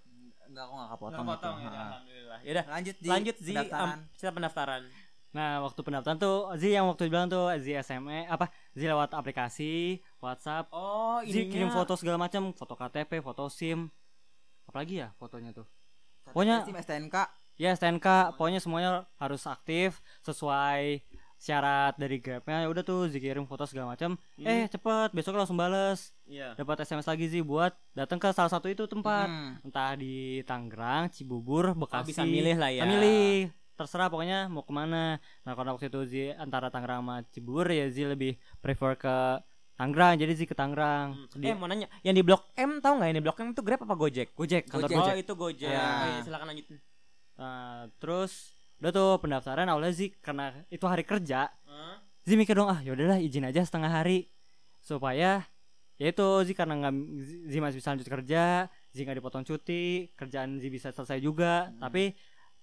B: Enggak, aku nggak
C: *laughs* ya,
B: kepotong. gitu. Ha.
A: alhamdulillah yaudah
B: Lanjut di
A: ya. lanjut sih
B: pendaftaran.
A: cerita pendaftaran
C: Nah, waktu pendaftaran tuh Zee yang waktu bilang tuh Zee SMA apa? Zee lewat aplikasi WhatsApp.
A: oh
C: Zee
A: ini
C: kirim foto segala macam, foto KTP, foto SIM. Apalagi ya fotonya tuh?
B: Satu
C: Pokoknya-
B: SIM, STNK
C: Ya STNK, pokoknya semuanya harus aktif sesuai syarat dari Grabnya. Ya udah tuh dikirim foto segala macam.
A: Hmm.
C: Eh cepet, besok langsung bales.
A: Iya.
C: Dapat SMS lagi sih buat datang ke salah satu itu tempat.
B: Hmm.
C: Entah di Tangerang,
A: Ah,
C: Cibubur, Bekasi.
A: bisa milih lah ya.
C: Ah, milih. Terserah pokoknya mau kemana. Nah karena waktu itu Zi antara Tangerang sama Cibubur ya Zi lebih prefer ke Tangerang. Jadi Zi ke Tangerang.
A: Eh
C: Di
A: mau nanya, yang di Blok M tahu nggak yang di Blok M itu Grab apa Gojek?
C: Gojek,
B: Gojek.
C: kantor Gojek.
A: Oh
C: Ah.
A: itu Gojek.
B: Ya.
A: Oh, iya, silakan lanjut.
C: Nah, terus udah tuh pendaftaran awalnya Zi karena itu hari kerja Zi mikir dong ah yaudahlah izin aja setengah hari supaya ya itu Zi karena nggak Zi masih bisa lanjut kerja Zi nggak dipotong cuti kerjaan Zi bisa selesai juga tapi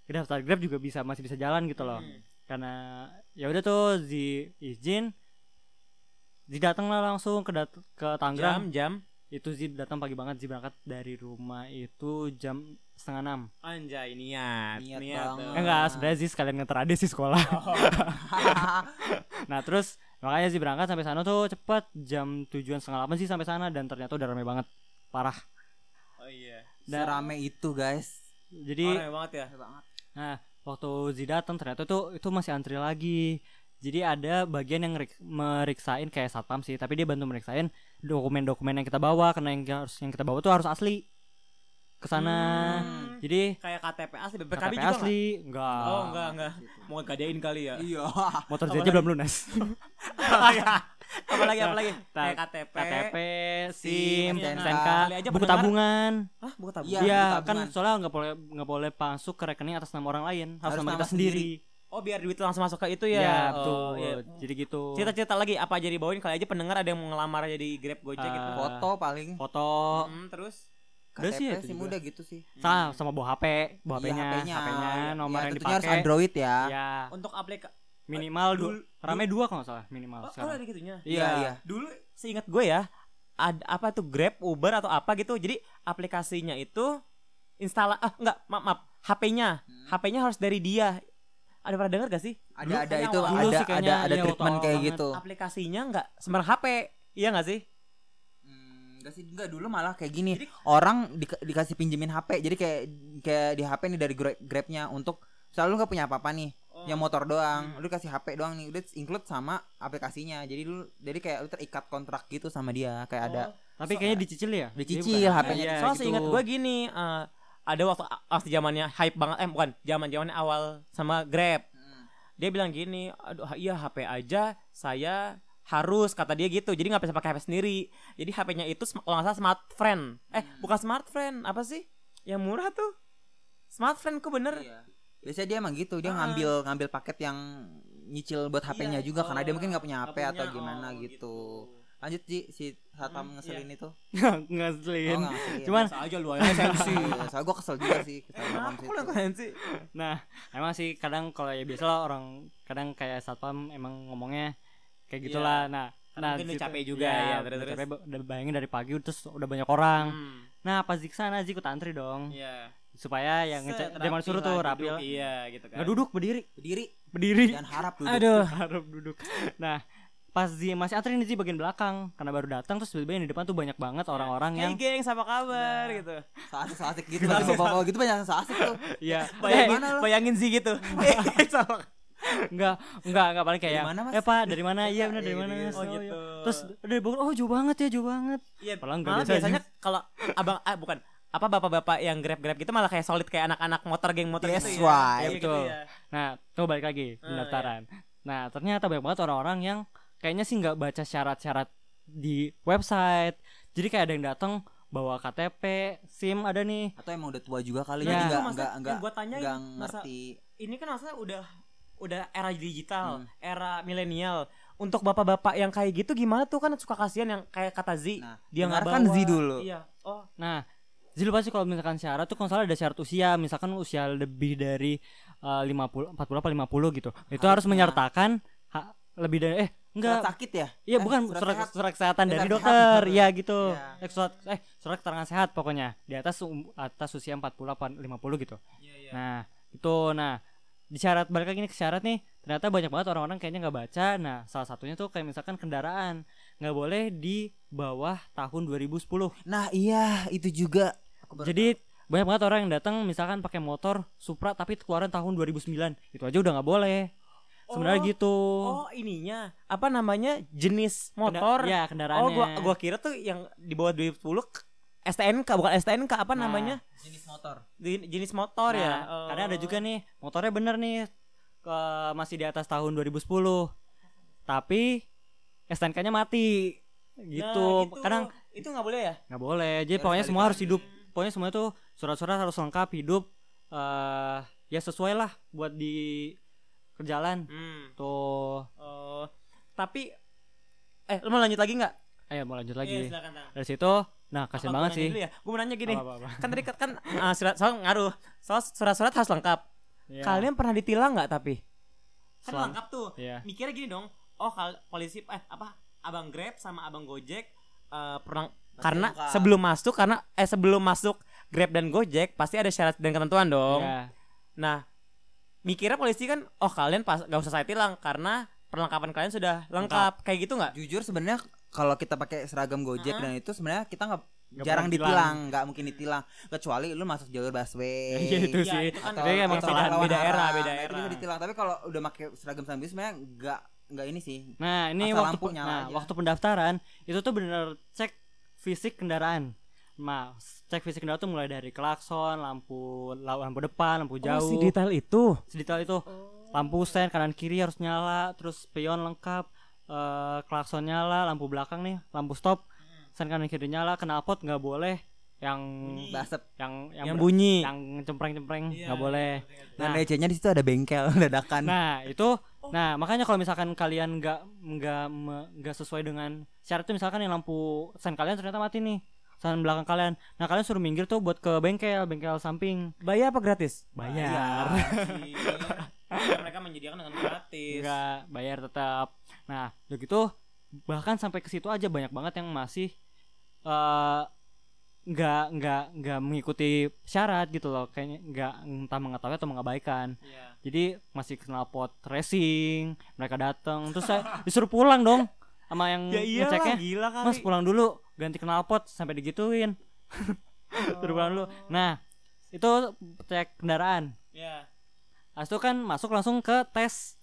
C: daftar Grab juga bisa masih bisa jalan gitu loh
B: Hmm.
A: Hmm.
C: karena ya udah tuh Zi izin Zi datang lah langsung ke dat- ke
A: Jam
C: Tangerang
A: jam.
C: itu Zi datang pagi banget Zi berangkat dari rumah itu jam setengah enam
A: Anjay niat.
B: Niat
A: tuh.
B: banget. Kan
C: Eh, Enggak, sebenarnya sih sekalian ngeter Ade sih
A: *laughs*
C: sekolah. nah, terus makanya sih berangkat sampai sana tuh cepet jam tujuan setengah delapan sih sampai sana dan ternyata udah rame banget. Parah.
A: Oh iya.
C: Dan,
B: Serame itu guys.
A: Orang
C: jadi
A: rame banget ya.
C: nah, waktu Zi datang ternyata tuh itu masih antri lagi. Jadi ada bagian yang ngerik- meriksain kayak satpam sih, tapi dia bantu meriksain dokumen-dokumen yang kita bawa karena yang harus yang kita bawa tuh harus asli. Ke sana.
A: Hmm.
C: Jadi
A: Kayak KTP asli, BPKB
C: KTP
A: juga
C: asli, enggak.
A: nggak? Oh enggak enggak. Mau gadein kali ya.
B: Ah,
A: *laughs*
B: gitu.
C: *laughs*
A: Iya.
B: Iya.
C: Motor jajan belum lunas.
A: apalagi apalagi
C: Nah,
A: kayak KTP.
C: KTP, SIM,
B: SIM,
C: STNK,
A: kali aja
C: buku
A: pendengar.
C: tabungan.
A: Hah, bukan tabung.
B: Iya.
C: Iya,
B: buku
C: kan
B: tabungan.
C: soalnya nggak boleh nggak boleh masuk ke rekening atas nama orang lain, harus,
B: Harus
C: nama
B: nama
C: kita sendiri.
A: Oh biar duit langsung masuk ke itu ya.
C: Iya,
A: Oh,
C: betul.
A: iya.
C: Jadi gitu.
A: Cerita-cerita lagi apa aja dibawain kali aja pendengar ada yang mau ngelamar jadi Grab Gojek gitu.
C: Ah.
B: Foto paling
C: foto
B: Oh.
A: Hmm, terus
C: Udah sih, ya
B: KTP
C: itu
B: SIM
C: juga.
B: udah gitu sih.
C: sama sama bawa HP, bawa
B: Iya,
C: HP-nya, HP-nya, nomor
B: Iya,
C: yang
B: tentunya harus
C: dipakai.
B: Android ya.
C: Iya,
A: untuk aplikasi
C: minimal dua,
A: Dulu-
C: rame dua kalau nggak salah minimal
A: Oh, oh
C: sekarang.
A: ada gitunya.
C: Iya,
B: iya.
A: dulu seingat gue ya ada apa tuh Grab Uber atau apa gitu jadi aplikasinya itu install ah enggak maaf maaf HP-nya HP-nya harus dari dia ada pernah dengar gak sih
B: Ada ada
A: kayaknya
B: itu
A: awal-
C: dulu
B: ada
C: sih
B: ada
C: kayaknya,
B: ada
C: iya, waktu
B: treatment
C: awal
B: kayak
C: banget.
B: gitu.
A: aplikasinya nggak sembarang HP Iya nggak sih?
B: Hmm, Enggak sih, enggak dulu malah kayak gini. orang di- dikasih pinjemin HP. Jadi kayak kayak di HP nih dari Gra- Grab-nya untuk selalu nggak punya apa-apa nih. Oh. Yang motor doang, lu kasih HP doang nih, udah include sama aplikasinya. Jadi lu jadi kayak lu terikat kontrak gitu sama dia, kayak ada
C: Tapi kayaknya dicicil ya?
B: Dicicil
C: Iya, bukan.
B: HP-nya.
C: Iya,
A: Oh. Soalnya
C: gitu.
A: seingat gue gini, eh, ada waktu waktu zamannya hype banget, eh bukan, zaman zamannya awal sama Grab.
B: Oh.
A: Dia bilang gini, aduh iya HP aja, saya harus kata dia gitu. Jadi nggak bisa pakai HP sendiri. Jadi HP-nya itu sem- kalau nggak salah smart friend. Eh bukan smart friend, apa sih? Yang murah tuh. Smart friend kok bener?
B: Hmm, Iya, Biasanya dia emang gitu, dia ngambil ngambil paket yang nyicil buat HP-nya juga karena dia mungkin Iya. Oh, nggak punya HP atau gimana gitu. Hmm, iya. Lanjut Ji, si Satam ngeselin itu.
C: Nggak
B: Oh,
C: *laughs* ngeselin.
B: nggak ngeselin.
C: Cuman
A: Biasa aja lu *laughs* aja sensi.
B: *laughs* Iya, soalnya gue kesel juga sih kesel sama Satam
A: Aku
B: situ.
A: lah kalian sih.
C: Nah, emang sih kadang kalau ya biasa lah orang kadang kayak satpam emang ngomongnya kayak gitulah.
A: Karena
C: Nah, nah
A: Iya. mungkin udah
C: di situ-
A: capek juga, ya,
C: udah
A: terus-terus. Hmm.
C: capek, udah bayangin dari pagi terus udah banyak orang. Nah, pas di sana Zik ikut antri dong
A: Iya.
C: supaya yang ngecek zaman suruh tuh rapi. lah.
A: Iya gitu kan.
C: Nggak duduk berdiri,
B: Berdiri
C: berdiri.
B: dan harap duduk.
A: Aduh.
C: Harap duduk. Nah, pas di masih antri nih Zik bagian belakang karena baru datang terus tiba-tiba yang di depan tuh banyak
A: Iya.
C: banget orang-orang yang
A: Hey gengs apa kabar gitu.
B: Seasik seasik gitu. Lagi bawa-bawa gitu banyak yang seasik tuh.
C: ya
A: Bayangin,
B: mana lu?
A: bayangin sih gitu. Eh, sama.
C: Enggak, enggak, enggak paling kayak
B: Dari mana, Mas?
C: Eh, Pak, dari
A: *laughs*
C: mana? Iya, benar
B: Iya,
C: dari
B: gitu,
C: mana?
B: gitu.
C: Mas?
A: Oh,
C: iya.
A: gitu.
C: Terus udah bangun, oh jauh banget ya, jauh banget.
A: Iya,
C: Padahal nggak
A: malah
C: biasa aja.
A: biasanya kalau abang ah bukan apa bapak-bapak yang grab-grab gitu malah kayak solid kayak anak-anak motor geng motor
B: That's
A: gitu ya.
B: why.
A: Iya, gitu
C: Betul.
A: ya.
C: Nah, coba balik lagi
B: Oh, iya.
C: pendaftaran. Nah, ternyata banyak banget orang-orang yang kayaknya sih nggak baca syarat-syarat di website. Jadi kayak ada yang datang bawa KTP, SIM ada nih.
B: Atau emang udah tua juga kali
C: Nah,
B: jadi
C: itu
B: nggak
A: maksudnya
B: nggak
A: Iya, yang
B: nggak
A: gua tanyain,
B: nggak
A: masa-
B: ngerti.
A: Ini kan maksudnya udah udah era digital,
B: Hmm.
A: era milenial. Untuk bapak-bapak yang kayak gitu gimana tuh kan suka kasihan yang kayak kata Z.
B: Nah,
A: dia nggak
B: dengarkan
A: bawa.
B: Z dulu.
A: Iya. Oh,
C: Nah, jadi lupa sih kalau misalkan syarat tuh kalau nggak salah ada syarat usia, misalkan usia lebih dari eh, 50 40 apa 50 gitu. Itu harus menyertakan ha- lebih dari eh
B: Surat
C: enggak
B: sakit ya?
C: Iya
B: Eh,
C: bukan surat surat,
B: sehat.
C: kesehatan
B: Eh,
C: dari
B: surat
C: dokter,
B: sehat.
C: iya gitu.
B: Iya.
C: Eh, surat eh surat keterangan sehat pokoknya di atas um- atas usia 40 apa 50 gitu.
A: Iya.
C: Nah, itu nah di syarat balik lagi nih ke syarat nih ternyata banyak banget orang-orang kayaknya nggak baca nah salah satunya tuh kayak misalkan kendaraan nggak boleh di bawah tahun 2010
B: Nah, iya itu juga. Aku baru
C: jadi banyak banget orang yang datang misalkan pakai motor Supra tapi keluaran tahun 2009 itu aja udah nggak boleh sebenarnya
A: Oh.
C: gitu
A: oh ininya apa namanya jenis motor?
C: ya kendaraannya
A: Oh, gua gua kira tuh yang di bawah 2010 k- STNK bukan STNK apa
C: Nah.
A: namanya?
B: jenis motor.
A: Di- Jenis motor ya.
C: Nah, Karena ada juga nih motornya bener nih ke masih di atas tahun 2010. Tapi STNK-nya mati. Gitu.
A: Nah,
C: Kadang
A: itu nggak boleh ya?
C: nggak boleh. Jadi
B: Harus
C: pokoknya
B: balik
C: semua harus
B: lagi.
C: hidup. Pokoknya semua tuh surat-surat harus lengkap, hidup eh ya sesuai lah buat di kerjalan.
A: Hmm.
C: Tuh.
A: Oh, tapi eh lu mau lanjut lagi nggak? Iya,
C: Ayo mau lanjut lagi.
A: silakan. Tang.
C: Dari situ nah
A: Apa
C: kasihan
A: gua
C: banget
A: nanya
C: sih.
A: dulu ya? Gue mau nanya gini.
C: Apa-apa.
A: Kan tadi kan ah, surat soal ngaruh. Soal surat-surat harus lengkap.
C: Iya.
A: Kalian pernah ditilang nggak tapi? Kan
C: Selang-
A: lengkap tuh.
C: Iya.
A: Mikirnya gini dong. Oh, kal- polisi eh apa? Abang Grab sama Abang Gojek eh pernah karena
B: lengkap.
A: sebelum masuk karena eh sebelum masuk Grab dan Gojek pasti ada syarat dan ketentuan dong.
C: Iya.
A: Nah, mikirnya polisi kan, oh kalian pas gak usah saya tilang karena perlengkapan kalian sudah lengkap, kayak gitu nggak?
B: Jujur sebenarnya kalau kita pakai seragam Gojek dan itu sebenarnya kita nggak
C: Nggak
B: jarang
C: pernah
B: ditilang, nggak mungkin ditilang kecuali lu masuk jalur busway.
C: Iya, itu
A: Iya,
C: sih.
A: itu kan
B: atau,
C: Tapi emang
B: atau
C: kesalahan.
B: lawan
A: beda
B: arah.
A: era, beda
B: Nah, itu
A: era.
B: juga ditilang. Tapi kalau udah pakai seragam sambil sebenarnya nggak nggak ini sih.
C: Nah, ini
B: Asal
C: waktu
B: lampu nyala
C: nah,
B: aja.
C: waktu pendaftaran itu tuh bener cek fisik kendaraan. Nah, cek fisik kendaraan tuh mulai dari klakson, lampu lampu depan, lampu jauh.
A: Oh, detail itu.
C: sedetail itu. Lampu sen kanan kiri harus nyala, terus pion lengkap, eh, klakson nyala, lampu belakang nih, lampu stop, sen kanan kiri nyala, knalpot nggak boleh yang
B: Basep.
C: yang yang,
A: Yang
C: ber-
A: bunyi.
C: yang cempreng-cempreng nggak boleh.
A: iya.
B: Dan recehnya Nah, di situ ada bengkel *laughs* dadakan.
C: Nah itu, nah makanya kalau misalkan kalian nggak nggak me- nggak sesuai dengan syarat itu misalkan yang lampu sen kalian ternyata mati nih, sen belakang kalian. Nah kalian suruh minggir tuh buat ke bengkel, bengkel samping.
A: Bayar Iya. apa gratis?
C: Bayar.
A: *laughs* mereka menyediakan dengan gratis.
C: Nggak bayar tetap. Nah udah gitu bahkan sampai ke situ aja banyak banget yang masih eh, nggak nggak nggak mengikuti syarat gitu loh kayaknya nggak entah mengetahui atau mengabaikan
A: Iya.
C: jadi masih kenal pot racing mereka datang terus saya disuruh pulang dong sama yang
A: ya iya
C: ngeceknya
A: gila kali
C: Mas pulang dulu ganti knalpot sampai digituin.
A: Oh.
C: Suruh pulang dulu. Nah, itu cek kendaraan.
A: ya
C: Habis itu kan masuk langsung ke tes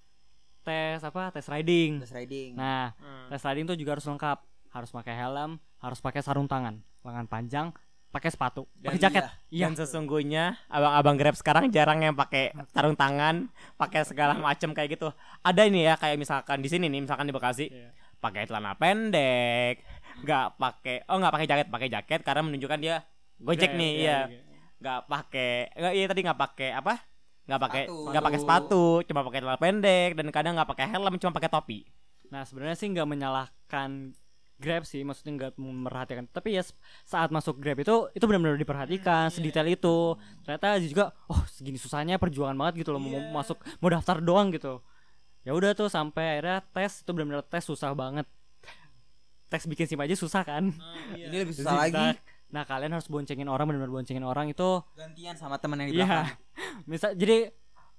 C: tes apa? Tes riding.
B: Terus riding.
C: Nah,
A: Hmm.
C: tes riding itu juga harus lengkap. Harus pakai helm, harus pakai sarung tangan, lengan panjang, pakai sepatu,
B: Dan
C: pakai jaket. Iya.
A: Dan sesungguhnya abang-abang Grab sekarang jarang yang pakai tarung tangan, pakai segala macam kayak gitu. Ada ini ya kayak misalkan di sini nih, misalkan di Bekasi,
C: Iya.
A: pakai celana pendek, nggak pakai oh nggak pakai jaket, pakai jaket karena menunjukkan dia Gojek nih, iya. Nggak pakai nggak iya tadi nggak pakai apa? Nggak pakai
B: Sepatu.
A: nggak pakai sepatu, cuma pakai celana pendek dan kadang nggak pakai helm, cuma pakai topi.
C: Nah, sebenarnya sih nggak menyalahkan Grab sih, maksudnya nggak memperhatikan. Tapi ya se- saat masuk Grab itu itu benar-benar diperhatikan
B: Hmm, iya.
C: sedetail itu. Ternyata Aziz juga oh segini susahnya perjuangan banget gitu loh mau-
B: Iya.
C: mau masuk mau daftar doang gitu. Ya udah tuh sampai akhirnya tes itu benar-benar tes susah banget. Tes bikin SIM aja susah kan.
A: Ah,
B: Ini lebih susah lagi.
C: Zigzag. Nah, kalian harus boncengin orang benar-benar boncengin orang itu
B: Gantian sama teman yang di
C: Iya.
B: belakang.
C: *laughs* Misal jadi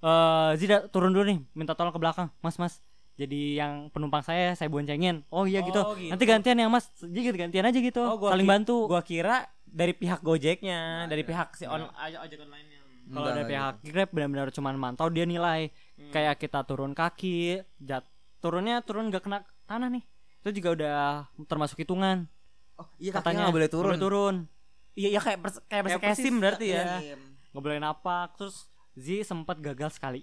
C: eh Zida turun dulu nih, minta tolong ke belakang, Mas Mas. Jadi yang penumpang saya saya boncengin. Oh iya
A: Oh,
C: gitu.
A: gitu.
C: Nanti gantian yang Mas. Jadi gantian aja gitu.
A: Oh, gua
C: Saling
A: ki-
C: bantu.
A: Gua kira dari pihak Gojeknya, dari pihak si on, ojek online-nya.
B: Enggak, gitu.
C: Kalau ada Hmm. pihak Grab benar-benar cuman mantau dia nilai.
A: Iya.
C: Kayak kita turun kaki, jat turunnya turun gak kena tanah nih. Itu juga udah termasuk hitungan.
B: Oh, iya katanya
C: katanya
B: nggak boleh turun.
C: Nggak boleh turun.
A: Iya, iya kayak pers- kayak
C: Kayak
A: kayak SIM
C: persis,
A: berarti ya.
B: Iya.
C: Nggak boleh napak. Terus Z sempat gagal sekali.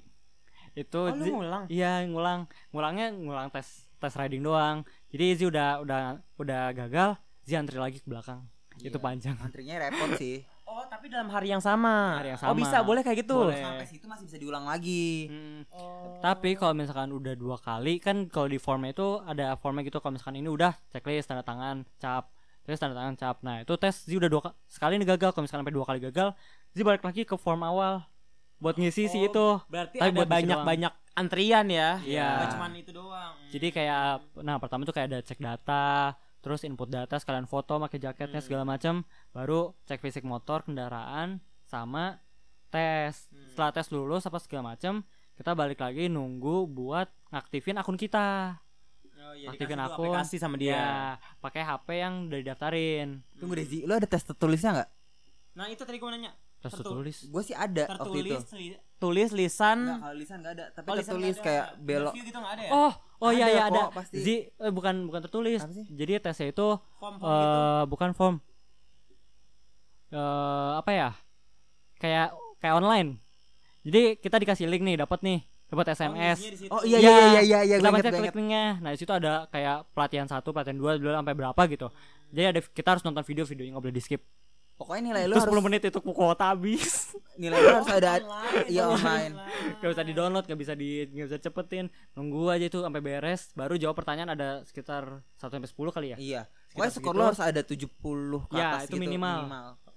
C: Itu
A: Oh, lu
C: Zi-
A: ngulang.
C: Iya ngulang, ngulangnya ngulang tes tes riding doang. Jadi Zi udah udah udah gagal, Zi antri lagi ke belakang. Itu
B: Iya.
C: panjang.
B: Antrinya repot sih.
A: Oh, tapi dalam hari yang sama.
C: Hari yang
A: Oh,
C: sama.
A: bisa boleh kayak gitu.
C: Boleh.
B: Sampai situ masih bisa diulang lagi.
C: Hmm.
A: Oh.
C: Tapi kalau misalkan udah dua kali kan kalau di formnya itu ada formnya gitu kalau misalkan ini udah checklist tanda tangan cap terus tanda tangan cap. Nah itu tes Zi udah dua ka- sekali ini gagal kalau misalkan sampai dua kali gagal Zi balik lagi ke form awal buat ngisi si
A: Oh.
C: itu.
A: Berarti
C: Tapi
A: ada
C: buat isi
A: banyak-banyak antrian ya.
C: Iya.
A: Nggak cuman itu doang.
C: Jadi kayak nah pertama tuh kayak ada cek data, terus input data sekalian foto pakai jaketnya segala
A: Hmm.
C: macam, baru cek fisik motor, kendaraan sama tes.
A: Hmm.
C: Setelah tes lulus apa segala macam, kita balik lagi nunggu buat ngaktifin akun kita.
A: oh, iya,
C: aktifin
A: dikasih tuh
C: akun.
A: aplikasi sama dia.
C: Ya, pakai HP yang udah didaftarin.
B: Tunggu deh, Zi. Lu ada tes tertulisnya nggak?
A: Nah, itu tadi gue nanya.
C: Terus
A: Tertu-
C: tulis.
B: Gue sih ada Eh, waktu itu.
A: Tertulis li- tulis lisan
B: Enggak, Hmm. kalau lisan enggak ada, tapi
A: Oh, lisan
B: tertulis
A: nggak ada.
B: kayak belok.
A: Review gitu nggak ada ya?
C: Oh, oh iya
B: Ada
C: iya
B: kok,
C: ada.
B: pasti.
C: Zi eh, bukan bukan tertulis.
B: Apa sih?
C: Jadi tesnya itu
A: Form-form gitu.
C: eh bukan form. eh apa ya? Kayak kayak online. Jadi kita dikasih link nih, dapat nih,
A: Oh,
C: dapat SMS.
A: isinya di situ.
B: Oh iya iya iya iya iya
C: kita
B: gue inget
C: baca
B: gue
C: klik
B: inget.
C: linknya. Nah, di situ ada kayak pelatihan satu, pelatihan dua, dulu sampai berapa gitu. Jadi ada kita harus nonton video, videonya nggak boleh di skip.
B: Pokoknya nilai lu
C: Terus
B: harus
C: 10 menit itu kuota habis. *laughs*
B: nilai lu harus ada
A: Oh, Online,
B: *laughs* iya online.
C: gak bisa di download, gak bisa di gak bisa cepetin. Nunggu aja itu sampai beres, baru jawab pertanyaan ada sekitar 1 sampai 10 kali ya.
B: Iya. Pokoknya skor
C: segitu.
B: lu harus ada 70 ke
C: Ya,
B: atas
C: itu
B: gitu,
C: minimal.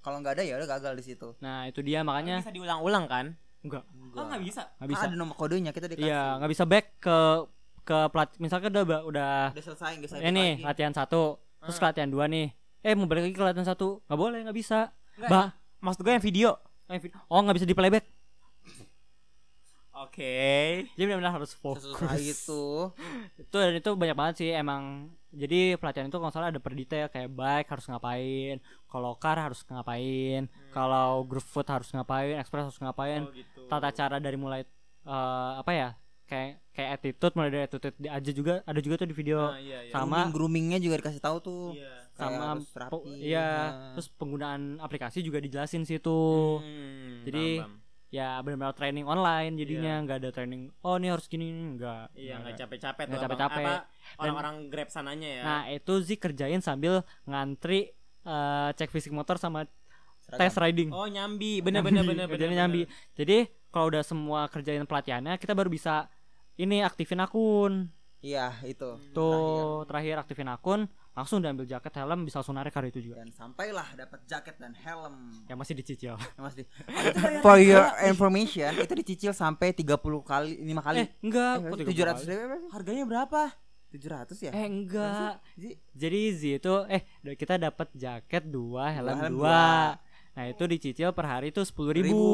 B: Kalau nggak ada ya udah gagal di situ.
C: Nah, itu dia makanya
A: Bisa diulang-ulang kan?
C: enggak
A: Oh, nggak bisa.
C: nggak
B: Kan
C: bisa.
B: ada nomor kodenya kita dikasih.
C: Iya, nggak bisa back ke ke plat misalnya udah ba- udah
B: Udah selesai enggak saya.
C: ini latihan satu, terus ke latihan dua nih. Eh mau balik lagi ke latihan satu, nggak boleh nggak bisa.
A: Nggak.
C: Bah,
A: Maksud gue yang video.
C: eh, vid- oh nggak bisa di playback.
A: Oke.
C: Jadi benar-benar harus
B: Selesai
C: fokus.
B: itu.
C: Itu dan itu banyak banget sih emang. Jadi pelatihan itu kalau nggak salah ada per detail kayak bike harus ngapain, kalau car harus ngapain,
A: Hmm.
C: kalau group food harus ngapain, express harus
A: Oh,
C: ngapain,
A: gitu.
C: tata cara dari mulai eh, apa ya kayak kayak attitude mulai dari attitude di- aja juga ada juga tuh di video
A: Nah, iya, iya.
C: sama
B: Grooming- groomingnya juga dikasih tahu tuh.
A: Iya.
B: Kayak
C: sama
B: harus rapi.
C: pe- iya
B: Nah.
C: terus penggunaan aplikasi juga dijelasin situ
A: Hmm,
C: gitu. Jadi,
A: paham, paham.
C: ya benar-benar training online jadinya nggak ada training oh ini harus gini nggak
A: Iya,
C: nggak
A: nggak
C: ada.
A: capek-capek
C: Nggak
A: tuh abang.
C: capek-capek.
A: Apa, Orang-orang Grab sananya ya.
C: nah itu sih kerjain sambil ngantri eh, cek fisik motor sama
B: Seragam.
C: tes riding
A: Oh nyambi, bener bener bener bener.
C: kerjanya nyambi jadi kalau udah semua kerjain pelatihannya kita baru bisa ini aktifin akun
B: Iya, itu.
C: tuh terakhir, aktifin akun langsung diambil jaket helm bisa langsung narik hari itu juga
B: Dan sampailah dapat jaket dan helm.
C: yang masih dicicil
B: Yang pasti.
C: Eh,
B: For your information, itu dicicil sampai 30 kali, 5 kali.
C: eh enggak kok
B: tujuh ratus
C: 30 kali?
B: ribu apa sih?
A: Harganya berapa?
B: Tujuh ratus ya?
C: eh enggak
B: Jadi,
C: jadi Zi itu eh da- kita dapat jaket dua helm
B: helm
C: dua nah itu dicicil per hari itu sepuluh ribu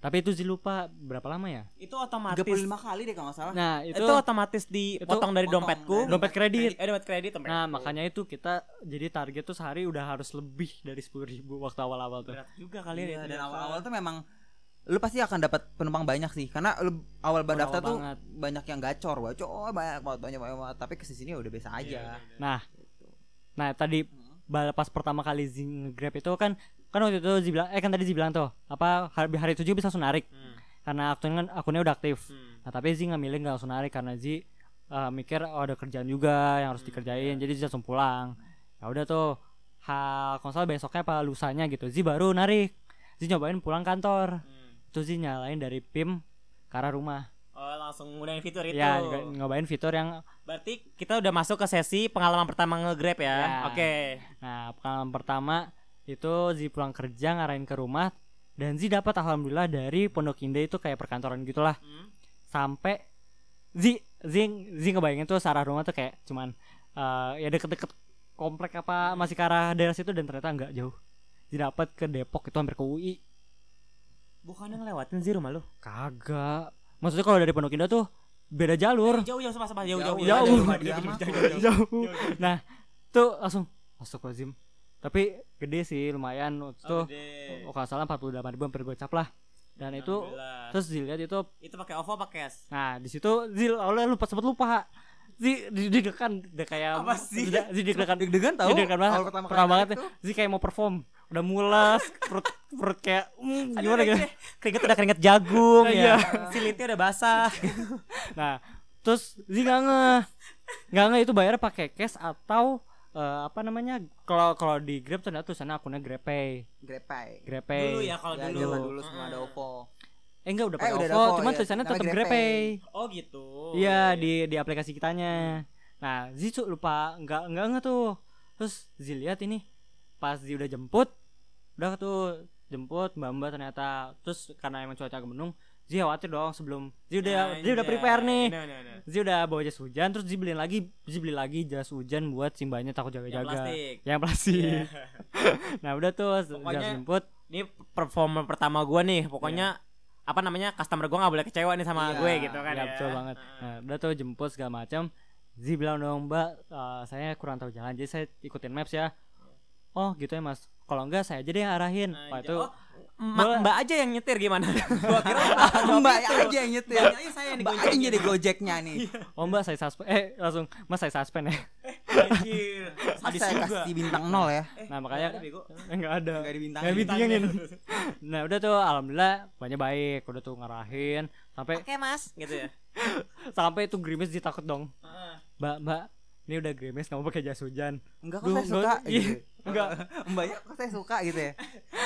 C: Tapi itu Zi lupa berapa lama ya?
A: Itu otomatis.
B: 35 kali deh kalau nggak salah.
C: Nah,
A: itu,
C: itu,
A: otomatis dipotong dari
B: potong
A: dompetku.
B: dari
C: dompet kredit.
A: Eh, dompet kredit dompet.
C: Nah, makanya itu kita jadi target tuh sehari udah harus lebih dari 10.000 ribu waktu awal-awal tuh.
A: berat juga kali
B: Iya,
A: ya. itu.
B: dan awal-awal tuh memang lu pasti akan dapat penumpang banyak sih karena lu awal berdaftar
C: Awal
B: tuh
C: banget.
B: banyak yang gacor bacor oh, banyak banget banyak banyak banget. tapi kesini udah biasa
A: iya,
B: aja
C: Nah, nah tadi bal- pas pertama kali Zi nge-grab itu kan kan waktu itu Zi bilang eh kan tadi Zi bilang tuh apa hari, hari itu juga bisa langsung narik
A: Hmm.
C: karena akunnya akunnya udah aktif.
A: Hmm.
C: Nah tapi Zi nggak milih nggak langsung narik karena Zi eh, mikir oh, ada kerjaan juga yang harus dikerjain jadi Zi langsung pulang. Ya udah tuh ha konsol besoknya apa lusanya gitu Zi baru narik Zi nyobain pulang kantor
A: Hmm.
C: Terus Zi nyalain dari PIM ke arah rumah
A: Oh, langsung ngudain fitur itu.
C: Ya nyoba- nyobain fitur yang
A: Berarti kita udah masuk ke sesi pengalaman pertama nge-grab ya.
C: Ya.
A: Oke.
C: Nah pengalaman pertama itu Zi pulang kerja ngarahin ke rumah Dan Zi dapat alhamdulillah dari Pondok Indah itu kayak perkantoran gitu gitulah
A: Hmm.
C: sampai Zi Zi Zi ngebayangin tuh searah rumah tuh kayak cuman eh, ya deket-deket komplek apa masih ke arah daerah situ dan ternyata nggak jauh Zi dapat ke Depok itu hampir ke UI
A: Bukannya ngelewatin sih rumah lu?
C: kagak maksudnya kalau dari Pondok Indah tuh beda jalur
A: Jauh jauh sama sama jauh jauh.
C: Jauh.
A: Jauh.
B: Rumah
A: Jauh.
B: dia mah.
A: Jauh.
C: jauh nah tuh langsung Astagfirullahaladzim tapi gede sih lumayan waktu itu
A: Oh,
C: oh, kalau nggak salah 48 ribu hampir gocap lah dan itu
A: Alhamdulillah.
C: terus dilihat itu
A: itu pakai OVO apa cash?
C: Nah, di situ Zil awalnya lupa sempat lupa. Zi di deg-degan udah kayak
A: Apa sih?
C: udah- Zi deg-degan
B: deg-degan tahu
C: Zi deg-degan kan banget.
B: awal pertama
C: Pertama,
B: kali
C: banget
B: naik tuh.
C: Zi kayak mau perform, udah mules, perut perut kayak mm, gimana gitu.
A: Keringet udah keringet jagung
C: Iya.
A: ya. Silitnya udah basah.
C: *laughs* Nah, terus Zi nggak ngeh. Nggak ngeh itu bayar pakai cash atau eh, apa namanya? Kalau kalau di Grab ternyata tulisannya akunnya GrabPay.
B: Grepay
C: GrabPay.
A: dulu ya kalau
B: ya,
A: dulu.
B: zaman dulu sebelum ada Oppo
C: Eh enggak udah
B: Eh,
C: pakai
B: udah ada
C: OVO,
B: OVO,
C: cuman
B: iya.
C: tulisannya
B: Namanya
C: tetap
B: GrabPay.
C: GrabPay.
A: Oh gitu.
C: Iya di di aplikasi kitanya. Nah Zi cu- lupa nggak nggak nggak tuh. Terus Zi lihat ini pas Zi udah jemput, udah tuh jemput mbak mbak ternyata terus karena emang cuaca mendung Zi khawatir dong sebelum Zi udah Zi
A: Anjay.
C: udah prepare nih.
A: No, no, no.
C: Zi udah bawa jas hujan terus Zi beliin lagi Zi beli lagi jas hujan buat simbanya takut
A: Yang
C: jaga-jaga.
A: plastik.
C: Yang plastik. nah udah tuh
A: Pokoknya-
C: Zi jemput.
A: Iya. Ini performer pertama gua nih. Pokoknya apa namanya? Customer gua nggak boleh kecewa nih sama
B: Iya.
A: gue gitu kan
C: Iya,
A: ya.
C: betul banget. Nah, udah tuh jemput segala macam. Zi bilang dong, "Mbak, eh, saya kurang tahu jalan, jadi saya ikutin maps ya." Oh, gitu ya, Mas. Kalau enggak saya aja deh yang arahin. Wah,
A: Anjay.
C: itu
A: Oh, Ma-
C: Boleh.
A: Mbak aja yang nyetir gimana? *laughs* gua kira
B: mbak aja yang nyetir
A: Mbak aja saya yang
B: mbak aja
A: digoncengin.
B: jadi gojeknya nih
C: "Oh, Mbak, saya suspend." Eh, langsung, "Mas, saya suspend ya." *laughs*
A: Anjir. Sadis
B: saya
A: juga.
B: kasih bintang nol ya
C: nah, makanya
A: nggak ada, Bego.
C: enggak ada.
B: Nggak dibintangin.
C: Nggak dibintangin. *laughs* nah, udah tuh alhamdulillah banyak baik, udah tuh ngarahin sampai
A: Oke, Mas, gitu ya.
C: sampai itu grimis ditakut dong.
A: Heeh.
C: "Mbak, Mbak, ini udah grimis, nggak mau pakai jas hujan."
B: enggak kok
C: Duh,
B: saya suka
C: nggak- iya,
B: gitu.
C: enggak.
B: mbaknya kok saya suka gitu ya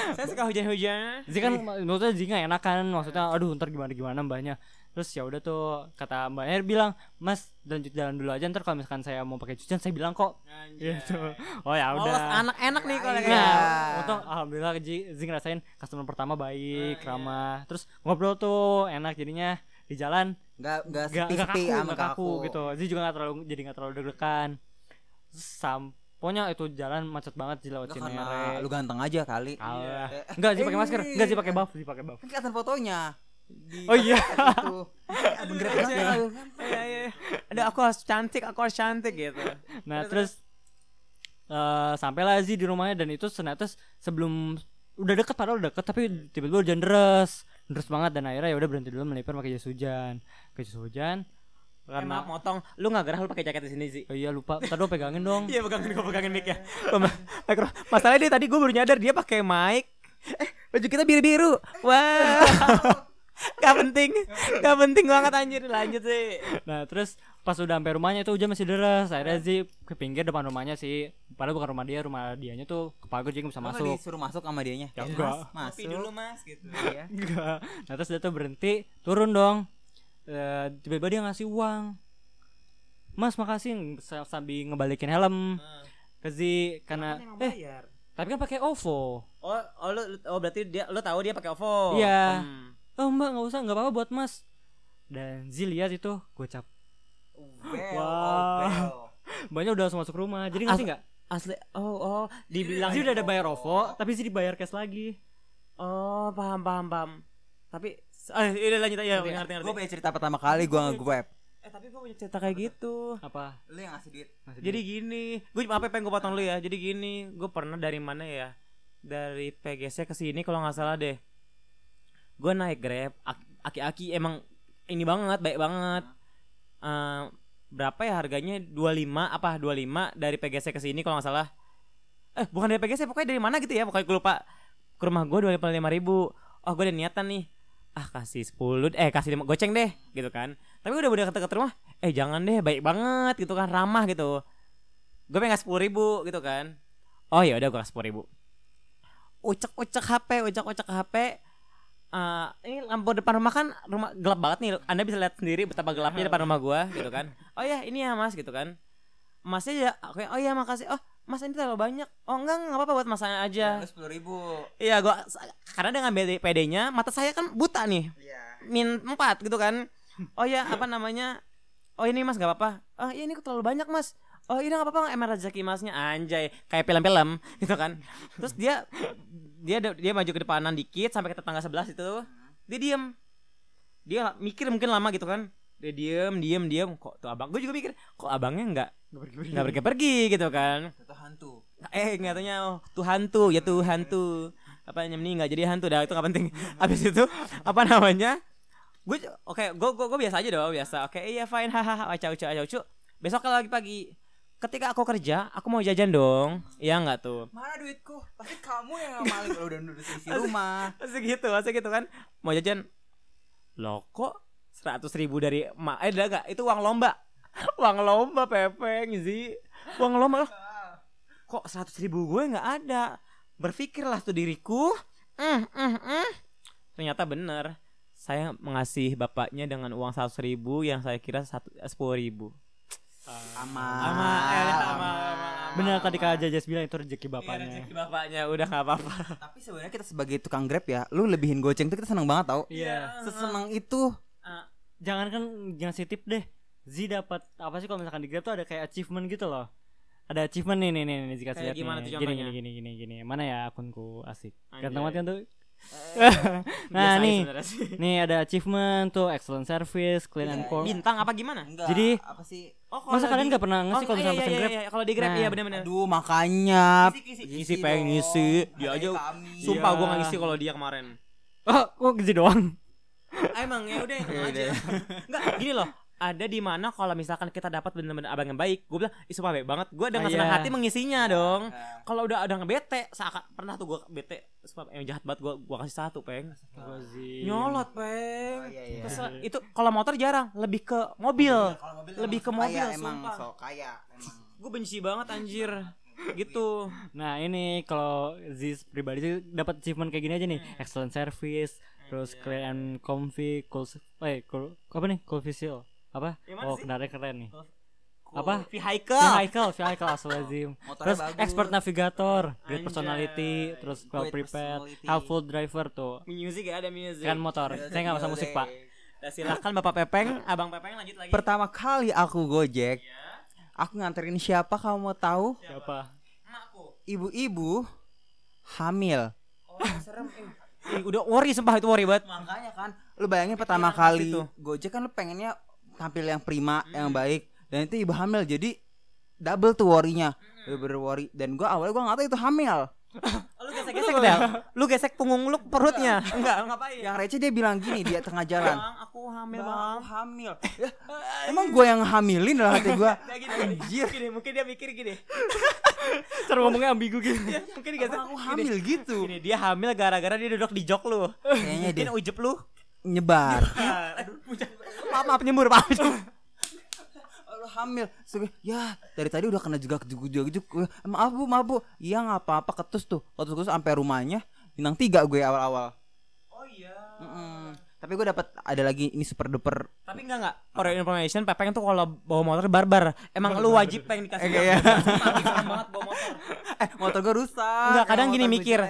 A: Saya suka hujan-hujan.
C: Zee kan maksudnya Zee gak enak kan maksudnya aduh ntar gimana gimana mbaknya terus ya udah tuh kata mbaknya bilang mas lanjut jalan dulu aja ntar kalau misalkan saya mau pakai cucian saya bilang kok gitu oh ya
A: Lolos
C: udah
A: anak ya. enak nih kalau
B: Iya.
A: kayak gitu.
C: Nah, untung alhamdulillah Zee, Zee ngerasain customer pertama baik ramah terus ngobrol tuh enak jadinya di jalan
B: enggak enggak
C: gak,
B: sepi
C: gak
B: sepi
C: kaku
B: sama
C: gak kaku gitu Zee juga gak terlalu jadi gak terlalu deg-degan samponya itu jalan macet banget Zee lewat
B: Enggak karena
C: Cinere
B: lu ganteng aja kali
C: Kalah.
B: Eh,
C: Enggak Zee pakai masker,
B: Ini.
C: enggak Zee pakai buff, Zee pakai buff.
B: kan kelihatan fotonya Di- gitu.
C: Oh iya. *laughs*
B: itu Grab
A: Aduh,
B: banget ya.
A: Iya, iya. Aduh, aku harus cantik, aku harus cantik gitu.
C: Nah terus eh sampailah Zi di rumahnya dan itu ternyata sebelum udah deket padahal udah deket tapi tiba-tiba hujan deres deres banget dan akhirnya ya udah berhenti dulu melipir pakai jas hujan pakai jas hujan
A: Eh, maaf
C: karena
A: motong, lu gak gerah lu pakai jaket di sini sih.
C: oh, iya lupa ntar dong pegangin dong
A: *laughs* Iya pegangin gue pegangin mic ya. Mama, Mikro. Masalahnya dia tadi gue baru nyadar dia pakai mic. Eh, baju kita biru-biru. *laughs* Wah. gak penting. Gak penting banget anjir lanjut sih.
C: nah terus pas udah sampai rumahnya itu hujan masih deres akhirnya Zi ke pinggir depan rumahnya sih padahal bukan rumah dia rumah dianya tuh ke pagar jadi nggak bisa
B: Kenapa
C: masuk
B: disuruh masuk sama dianya
C: Ya enggak.
B: Mas, masuk
A: Mas gitu.
B: ya
C: Enggak. Nah terus dia tuh berhenti, turun dong. Eh, tiba-tiba dia ngasih uang. Mas makasih sa- sambil ngebalikin helm. Ke Zi karena eh tapi kan pakai
A: Oh,
C: OVO.
A: oh, lu, lu- oh berarti dia lu tahu dia pakai OVO.
C: Iya.
A: Hmm.
C: Oh mbak nggak usah nggak apa-apa buat mas. Dan Zi lihat itu gocap.
B: Bel,
C: Wah.
B: bel.
C: Banyak udah langsung masuk rumah. Jadi ngasih nggak?
A: Asli. Oh, oh, dibilang
C: Zi udah ada bayar OVO, tapi Zi dibayar cash lagi.
A: Oh, paham paham paham.
D: tapi
A: Eh, udah lanjut aja, ngerti ngerti.
B: Gue punya cerita pertama kali gue nge-grab
D: eh tapi gue punya cerita kayak gitu
C: apa
B: Lu yang ngasih duit
A: Jadi gini, gue apa pengen gue potong lu ya. Jadi gini, gue pernah dari mana ya? Dari PGC ke sini kalau nggak salah deh. Gue naik Grab, ak- aki-aki emang ini banget, baik banget. Eh, berapa ya harganya? 25 apa 25 dari PGC ke sini kalau nggak salah. Eh, bukan dari PGC, pokoknya dari mana gitu ya, pokoknya gue lupa. Ke rumah gue 25 ribu Oh, gue ada niatan nih. Ah, kasih 10 eh kasih 5 goceng deh gitu kan. Tapi udah udah deket-deket rumah, eh jangan deh baik banget gitu kan ramah gitu gue pengen sepuluh ribu gitu kan oh ya udah gue kasih sepuluh ribu ucek ucek hp ucek ucek hp Eh, ini lampu depan rumah kan rumah gelap banget nih anda bisa lihat sendiri betapa gelapnya depan rumah gue gitu kan oh ya ini ya mas gitu kan masnya ya aku oh ya makasih oh mas ini terlalu banyak oh enggak enggak apa-apa buat masanya aja
B: Lu sepuluh ribu
A: iya gua karena dengan PD-nya mata saya kan buta nih
B: Iya
A: min 4 gitu kan oh ya apa namanya oh ini mas gak apa-apa oh iya ini terlalu banyak mas oh iya nggak apa-apa emang rezeki masnya anjay kayak film-film *laughs* gitu kan terus dia dia dia maju ke depanan dikit sampai ke tetangga sebelah itu dia diem dia la- mikir mungkin lama gitu kan dia diem diem diem kok tuh abang gue juga mikir kok abangnya nggak nggak pergi-pergi gitu kan
B: Itu hantu
A: eh nggak tanya oh, tuh hantu ya tuh hantu apa namanya meninggal jadi hantu dah itu nggak penting *laughs* abis itu apa namanya gue oke gue gue gue biasa aja dong biasa oke iya fine hahaha *laughs* aca ucu aca ucu besok kalau lagi pagi ketika aku kerja aku mau jajan dong iya nggak tuh
B: Mana duitku? Pasti kamu yang ngamalin Lu udah duduk
C: *laughs*
B: di rumah
A: masih gitu masih gitu kan mau jajan lo kok seratus ribu dari emak eh enggak enggak, itu uang lomba *laughs* uang lomba pepeng sih uang lomba loh kok seratus ribu gue nggak ada berpikirlah tuh diriku mm, mm, mm. ternyata bener saya mengasih bapaknya dengan uang seratus ribu yang saya kira eh, sepuluh ribu
B: Amal
A: sama
C: ya,
A: eh, sama
C: benar tadi kak Jajas bilang itu rezeki
A: Iya,
C: bapaknya
A: bapaknya udah nggak apa-apa
B: Tapi sebenarnya kita sebagai tukang grab ya Lu lebihin goceng tuh kita seneng banget tau
C: iya
B: Seseneng itu
C: jangan kan ngasih tip deh Z dapat apa sih kalau misalkan di Grab tuh ada kayak achievement gitu loh ada achievement nih nih nih nih jika
A: Kayak
C: lihat
A: gimana
C: nih.
A: tuh
C: gini,
A: contohnya?
C: gini gini gini gini mana ya akunku asik
A: Anjay.
C: ganteng banget kan tuh
A: Biasa
C: nah
A: aja
C: nih
A: sebenarnya sih.
C: nih ada achievement tuh excellent service clean and core
A: bintang apa gimana
B: Enggak
C: Jadi-
B: Apa sih
A: Oh, kalau
C: masa kalian
A: di-
C: nggak pernah
A: Oh,
C: ngasih kalau
A: Iya, iya, iya,
C: misalkan pesen
A: iya,
C: Grab
A: iya, kalau di Grab
C: Nah.
A: iya benar-benar.
B: Aduh makanya
A: Ngisi pengen ngisi Dia aja Sumpah
C: Iya.
A: gue gak ngisi kalau dia kemarin
C: oh kok Z doang
A: Ah, *laughs* Emang ya udah tenang *laughs* aja Enggak gini loh ada di mana kalau misalkan kita dapat bener-bener abang yang baik gue bilang ih sumpah baik banget gue dengan
C: Ah,
A: senang
C: iya.
A: hati mengisinya dong
B: Iya,
A: kalau udah ada ngebete seakan pernah tuh gue bete sumpah yang jahat banget gue gue kasih satu peng nyolot peng
B: Oh, iya, iya.
A: Kesel- itu kalau motor jarang lebih ke mobil lebih ke mobil
B: emang
A: sumpah
B: sok kaya emang.
A: gue benci banget anjir gitu
C: Nah ini kalau Ziz pribadi sih dapat achievement kayak gini aja nih,
A: Hmm.
C: excellent service,
A: Iya,
C: terus clean and comfy, cool, s- eh cool, apa nih cool visual, apa?
A: Yang mana
C: Oh
A: sih?
C: kendaraan keren nih.
A: apa
C: Apa?
A: vehicle
C: Vehicle, vehicle asal
B: Motornya
C: Terus
B: Iya. bagus.
C: expert navigator, great
A: Anjay.
C: personality, terus well
B: Great
C: prepared,
B: personality. Iya,
C: helpful driver tuh.
A: music ya ada music
C: Kan motor, saya nggak masa musik pak.
A: Nah, silakan Bapak Pepeng, Abang Pepeng lanjut lagi.
B: Pertama kali aku gojek, aku nganterin siapa kamu mau tahu?
C: Siapa?
B: Ibu-ibu hamil.
A: Ih, udah worry sumpah itu worry banget.
B: Makanya kan, lu bayangin pertama kali gojek kan lu pengennya tampil yang prima, yang baik. Dan itu ibu hamil, jadi double tuh worry-nya. Bener-bener worry. Dan gua awalnya gua nggak tahu itu hamil.
A: Lu gesek-gesek dah. Lu gesek punggung lu ke perutnya. Enggak, ngapain?
B: Yang receh dia bilang gini, dia tengah jalan.
A: Bang, aku hamil,
B: Bang,
A: Bang.
B: aku hamil. *laughs* Ya, emang gue yang hamilin dalam hati gue.
A: Kayak gini, Anjir. Gini, mungkin dia mikir gini.
C: Cara ngomongnya ambigu *laughs* gitu.
A: Dia mungkin gesek.
B: Aku hamil gitu.
A: Gini, dia hamil gara-gara dia duduk di jok lu.
B: Kayaknya
A: Dia
B: dia
A: ujep lu.
B: nyebar.
A: *laughs* Aduh, maaf, maaf nyembur, *laughs* maaf. nyembur.
B: Lu hamil. Terus gua, ya dari tadi udah kena juga juga juga. juga. Gua, "Eh, Maaf bu, maaf bu. Iya nggak apa-apa ketus tuh. Ketus ketus sampai rumahnya. Bintang tiga gue awal-awal.
A: Oh iya.
B: Mm-mm. Tapi gue dapat ada lagi ini super duper.
A: Tapi enggak enggak. For your information, Pepeng tuh kalau bawa motor barbar. Emang lu wajib pengen dikasih.
B: Iya.
A: Sumpah, serem banget bawa motor.
B: Eh motor gue rusak.
A: Enggak, kadang
B: Eh, motor
A: gini
B: gua
A: mikir.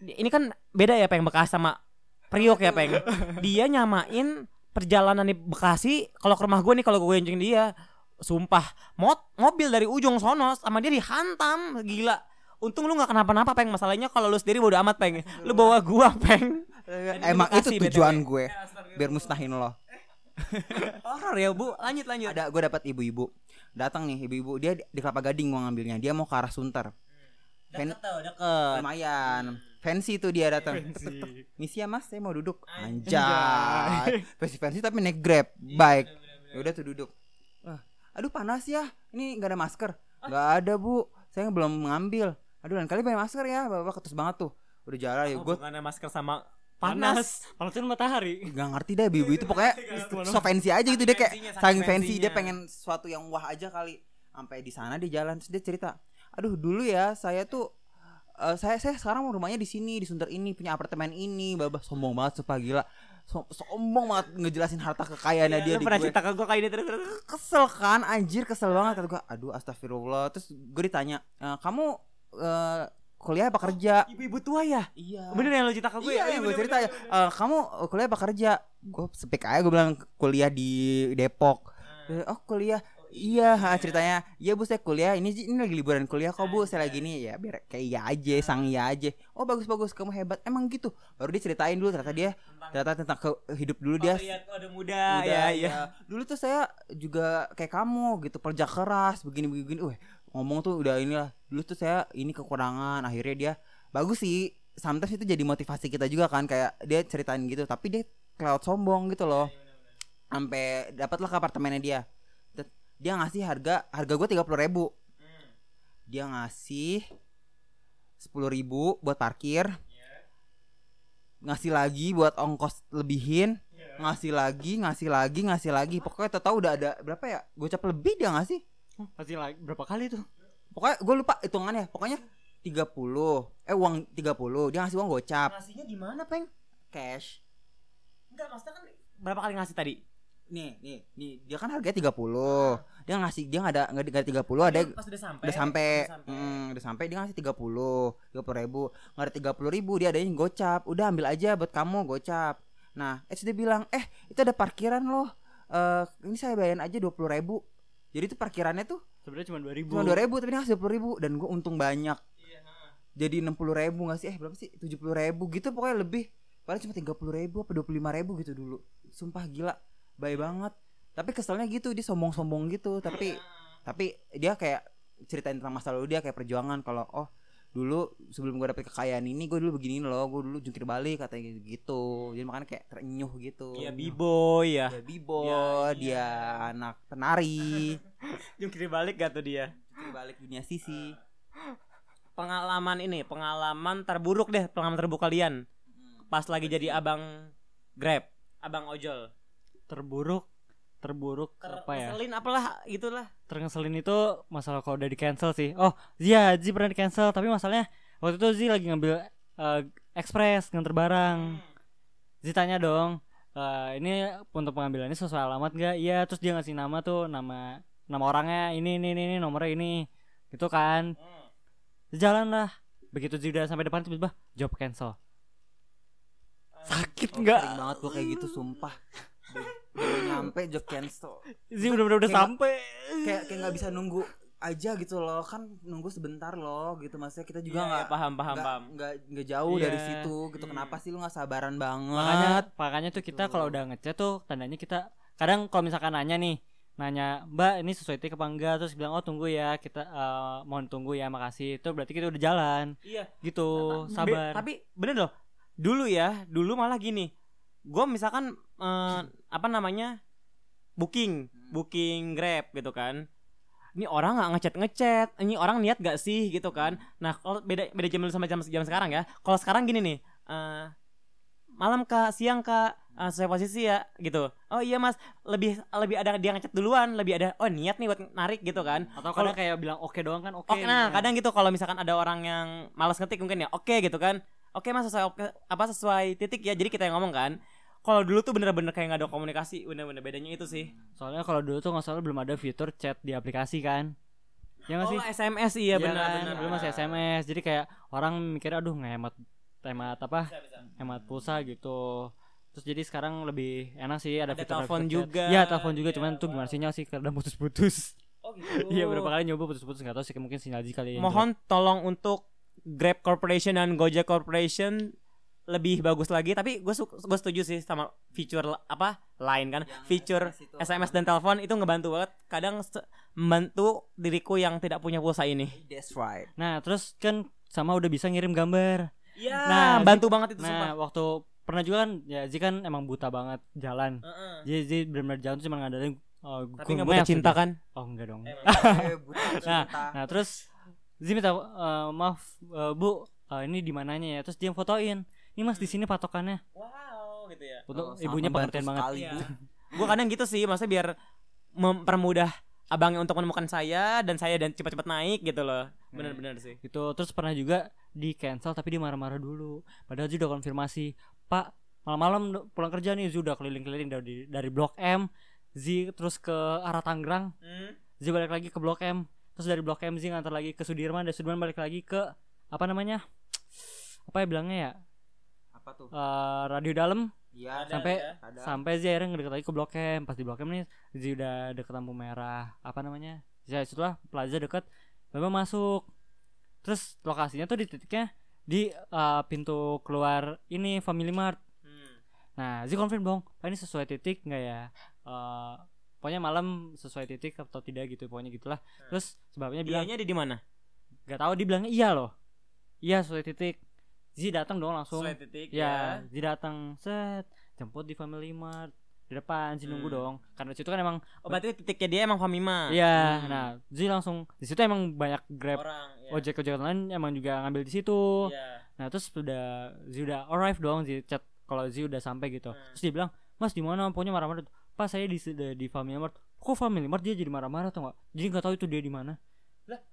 B: jelek.
A: ini kan beda ya peng Bekasi sama Priok ya *laughs* peng dia nyamain perjalanan di Bekasi kalau ke rumah gue nih kalau gue gonceng dia sumpah mot mobil dari ujung sono sama dia dihantam gila untung lu nggak kenapa-napa peng masalahnya kalau lu sendiri bodo amat peng lu bawa gua peng
B: Emang itu
A: Edukasi, BTW. Ya,
B: tujuan gue biar musnahin lo.
A: Horor ya bu lanjut lanjut
B: Ada gue dapat ibu-ibu datang nih ibu-ibu dia di- di Kelapa Gading gua ngambilnya. Dia mau ke arah Sunter. Fan- lumayan. Fancy tuh dia datang. Misi ya mas, saya mau duduk. Anjay. Fancy fancy tapi naik grab, baik. Ya udah tuh duduk. Ah, aduh panas ya. Ini nggak ada masker. Nggak ada bu. Saya belum ngambil. Aduh lain kali pakai masker ya, bapak ketus banget tuh. Udah jalan
A: Oh,
B: ya gue
A: hubungannya masker sama Eh, panas
C: panas panas kan matahari
B: nggak ngerti deh bibi itu pokoknya so fancy aja gitu dia kayak
A: Saking
B: saking
A: fancy-nya.
B: fancy dia pengen sesuatu yang wah aja kali sampai di sana dia jalan terus dia cerita aduh dulu ya saya tuh eh, saya saya sekarang rumahnya di sini di Sunter ini punya apartemen ini babah sombong banget sumpah gila So- sombong banget ngejelasin harta kekayaannya dia
A: Iya, Lu
B: di
A: pernah
B: gue.
A: cerita ke gue kayak ini terus terus.
B: kesel kan anjir kesel banget kata gue aduh astagfirullah terus gue ditanya "Eh, kamu eh, kuliah apa kerja
A: ibu-ibu tua ya
B: iya
A: bener yang lo cerita ke gue
B: iya,
A: ya?
B: yang gue
A: bener,
B: cerita ya.
A: bener,
B: Eh, kamu eh, kuliah apa kerja? Gue sepik aja gue bilang kuliah di Depok. Eh, Oh kuliah. Iya, ha, ceritanya. Iya bu, saya kuliah. Ini ini lagi liburan kuliah kok bu. Saya lagi ini ya biar kayak iya aja, sang iya aja. Oh bagus bagus, kamu hebat. Emang gitu. Baru dia ceritain dulu ternyata dia ternyata tentang ke, hidup dulu
A: bener.
B: dia.
A: Waktu lihat udah muda
B: Udah, iya.
A: ya ya
B: Dulu tuh saya juga kayak kamu gitu, kerja keras, begini-begini. Wah, ngomong tuh udah inilah. Dulu tuh saya ini kekurangan, akhirnya dia bagus sih. Sometimes itu jadi motivasi kita juga kan kayak dia ceritain gitu, tapi dia cloud sombong gitu loh. Sampai dapatlah ke apartemennya dia. Tet- Dia ngasih harga harga gue 30.000 ribu Dia ngasih 10.000 ribu buat parkir Ngasih lagi buat ongkos lebihin ngasih lagi ngasih lagi ngasih lagi pokoknya tau udah ada berapa ya gocap lebih dia ngasih
C: pasti lagi berapa kali tuh
B: pokoknya gue lupa hitungannya pokoknya 30 eh uang 30 dia ngasih uang gocap
A: ngasihnya di mana peng
B: cash
A: enggak maksudnya kan berapa kali ngasih tadi
B: nih nih nih dia kan harganya
A: Ah.
B: 30 dia ngasih dia nggak ada nggak ada- nggak ada 30 ada
A: Iya, pas udah sampai
B: udah sampai mm, udah sampai dia ngasih 30 30 ribu nggak ada 30 ribu dia adanya gocap udah ambil aja buat kamu gocap nah eh dia bilang eh itu ada parkiran loh Eh ini saya bayarin aja 20 ribu jadi itu parkirannya tuh
C: sebenarnya cuma dua ribu
B: cuma dua ribu tapi dia ngasih dua ribu dan gue untung banyak jadi enam puluh ribu nggak sih eh berapa sih tujuh puluh ribu gitu pokoknya lebih paling cuma tiga puluh ribu apa dua puluh lima ribu gitu dulu sumpah gila baik banget tapi keselnya gitu dia sombong-sombong gitu tapi tapi dia kayak ceritain tentang masa lalu dia kayak perjuangan kalau oh dulu sebelum gue dapet kekayaan ini gue dulu begini loh gue dulu jungkir balik katanya gitu jadi makanya kayak terenyuh gitu
A: Iya b-boy ya
B: dia bibo
A: Ya,
B: dia anak penari
A: Jungkir balik gak tuh dia
B: jungkir balik dunia sisi
A: Pengalaman ini Pengalaman terburuk deh Pengalaman terburuk kalian
B: Hmm.
A: Pas lagi jadi abang Grab Abang ojol
C: terburuk terburuk apa ya
A: Keselin apalah Itulah
C: terkeselin itu masalah kalau udah di cancel sih oh Zia Zi pernah di cancel tapi masalahnya waktu itu Zi lagi ngambil eh, ekspres nganter barang
A: Hmm.
C: Zi tanya dong eh, ini untuk pengambilannya sesuai alamat gak iya terus dia ngasih nama tuh nama nama orangnya ini ini ini, ini nomornya ini gitu kan
B: Hmm.
C: jalan lah begitu Zi udah sampai depan tiba-tiba job cancel sakit nggak
B: sering banget gue kayak gitu sumpah udah nyampe job cancel
C: Zi bener-bener udah
B: Kayak-
C: sampai
B: kayak kayak nggak bisa nunggu aja gitu loh kan nunggu sebentar loh gitu maksudnya kita juga
A: Iya,
B: nggak
A: iya, Paham paham
B: nggak-
A: paham
B: nggak nggak jauh dari
C: Iya.
B: situ gitu kenapa sih lu nggak sabaran banget
C: makanya makanya tuh kita kalau udah ngechat tuh tandanya kita kadang kalau misalkan nanya nih nanya mbak ini sesuai tik apa enggak terus bilang oh tunggu ya kita eh, mohon tunggu ya makasih itu berarti kita udah jalan
A: Iya.
C: gitu
A: Be-
C: sabar
A: Tapi bener loh Dulu ya Dulu malah gini Gue misalkan eh, Apa namanya Booking Booking Grab gitu kan ini orang nggak ngechat ngechat ini orang niat gak sih gitu kan
B: Hmm.
A: nah kalau beda beda jam dulu sama jam jam sekarang ya kalau sekarang gini nih eh, malam kak siang kak eh, sesuai posisi ya gitu oh iya mas lebih lebih ada dia ngechat duluan lebih ada oh niat nih buat narik gitu kan
C: atau kadang kayak bilang oke doang kan oke
A: Oke, nah
C: gitu.
A: kadang gitu kalau misalkan ada orang yang malas ngetik mungkin ya oke gitu kan. Oke mas sesuai op- apa sesuai titik ya jadi kita yang ngomong kan. Kalau dulu tuh bener-bener kayak nggak ada komunikasi, bener-bener bedanya itu sih.
C: soalnya kalau dulu tuh nggak salah belum ada fitur chat di aplikasi kan ya nggak
A: Oh
C: sih
A: SMS iya
C: Iya
A: benar.
C: kan,
A: benar.
C: belum masih SMS jadi kayak orang mikirnya aduh ngehemat hemat apa
A: Bisa, bisa.
C: hemat pulsa gitu terus jadi sekarang lebih enak sih ada,
A: Ada
C: fitur
A: telepon
C: fitur chat.
A: juga.
C: ya telepon juga
A: Iya,
C: cuman tuh gimana
A: wow.
C: sinyal sih kadang putus-putus *laughs*
A: Oh gitu.
C: iya berapa kali Iya, nyoba putus-putus nggak tahu sih ya. mungkin sinyal aja kali yang
A: Mohon tolong untuk Grab Corporation dan Gojek Corporation lebih bagus lagi tapi gue gue setuju sih sama fitur l- apa lain kan fitur SMS dan telepon itu ngebantu banget kadang se- membantu diriku yang tidak punya pulsa ini
B: That's
C: *laughs*
B: right.
C: Nah, terus kan sama udah bisa ngirim gambar.
A: ya
C: Nah,
A: bantu banget itu sumpah
C: Nah, waktu pernah juga kan ya Ji kan emang buta banget jalan.
A: Heeh.
C: Jadi Ji benar-benar jalan tuh cuma ngandalin uh,
A: tapi
C: Google
A: nggak punya
C: Maps
A: cinta
C: gitu.
A: kan
C: Oh, enggak dong.
B: Eh, buta,
C: Nah,
B: buta.
C: Nah, terus Ji minta uh, maaf uh, Bu, uh, ini di mananya ya? Terus dia fotoin. Ini Mas di sini patokannya.
A: wow gitu ya
C: Untuk
B: Oh, sangat
C: ibunya
B: membantu
C: pengertian banget.
B: sekali,
A: Iya.
B: Bu.
A: gue kadang gitu sih maksudnya biar mempermudah abangnya untuk menemukan saya dan saya dan cepat-cepat naik gitu loh benar-benar sih
C: gitu terus pernah juga di cancel tapi dia marah-marah dulu padahal Ji udah konfirmasi pak malam-malam d- pulang kerja nih Ji udah keliling-keliling dari dari blok M Z terus ke arah Tangerang Z balik lagi ke blok M terus dari blok M Z ngantar lagi ke Sudirman dari Sudirman balik lagi ke apa namanya apa ya bilangnya ya
B: Apa tuh?
C: Eh, radio dalam
B: Iya,
C: sampai
B: ada.
C: sampai Z akhirnya ngedeket lagi ke blok M pas di blok M nih Z udah deket lampu merah apa namanya ya setelah plaza deket memang masuk terus lokasinya tuh di titiknya di eh, pintu keluar ini Family Mart
A: Hmm.
C: nah Z confirm dong "Pak, ini sesuai titik nggak ya Eh, pokoknya malam sesuai titik atau tidak gitu pokoknya gitulah terus sebabnya bilang
A: Dianya ada di mana?
C: nggak tahu dibilangnya iya loh iya sesuai titik Z datang dong langsung
A: Sesuai titik
C: ya dia datang set jemput di Family Mart di depan sih nunggu
A: Hmm.
C: dong karena situ kan emang
A: Oh berarti titiknya dia emang Famima.
C: iya
A: Hmm.
C: nah Oh, Ji langsung di situ emang banyak grab
A: orang. ya.
C: ojek ojek online emang juga ngambil di situ
A: Iya.
C: nah terus udah Ji udah arrive dong Ji chat kalau Ji udah sampai gitu
A: Hmm.
C: terus dia bilang Mas di mana pokoknya marah-marah pas saya di di Family Mart kok Family Mart dia jadi marah-marah tuh nggak jadi nggak tahu itu dia di mana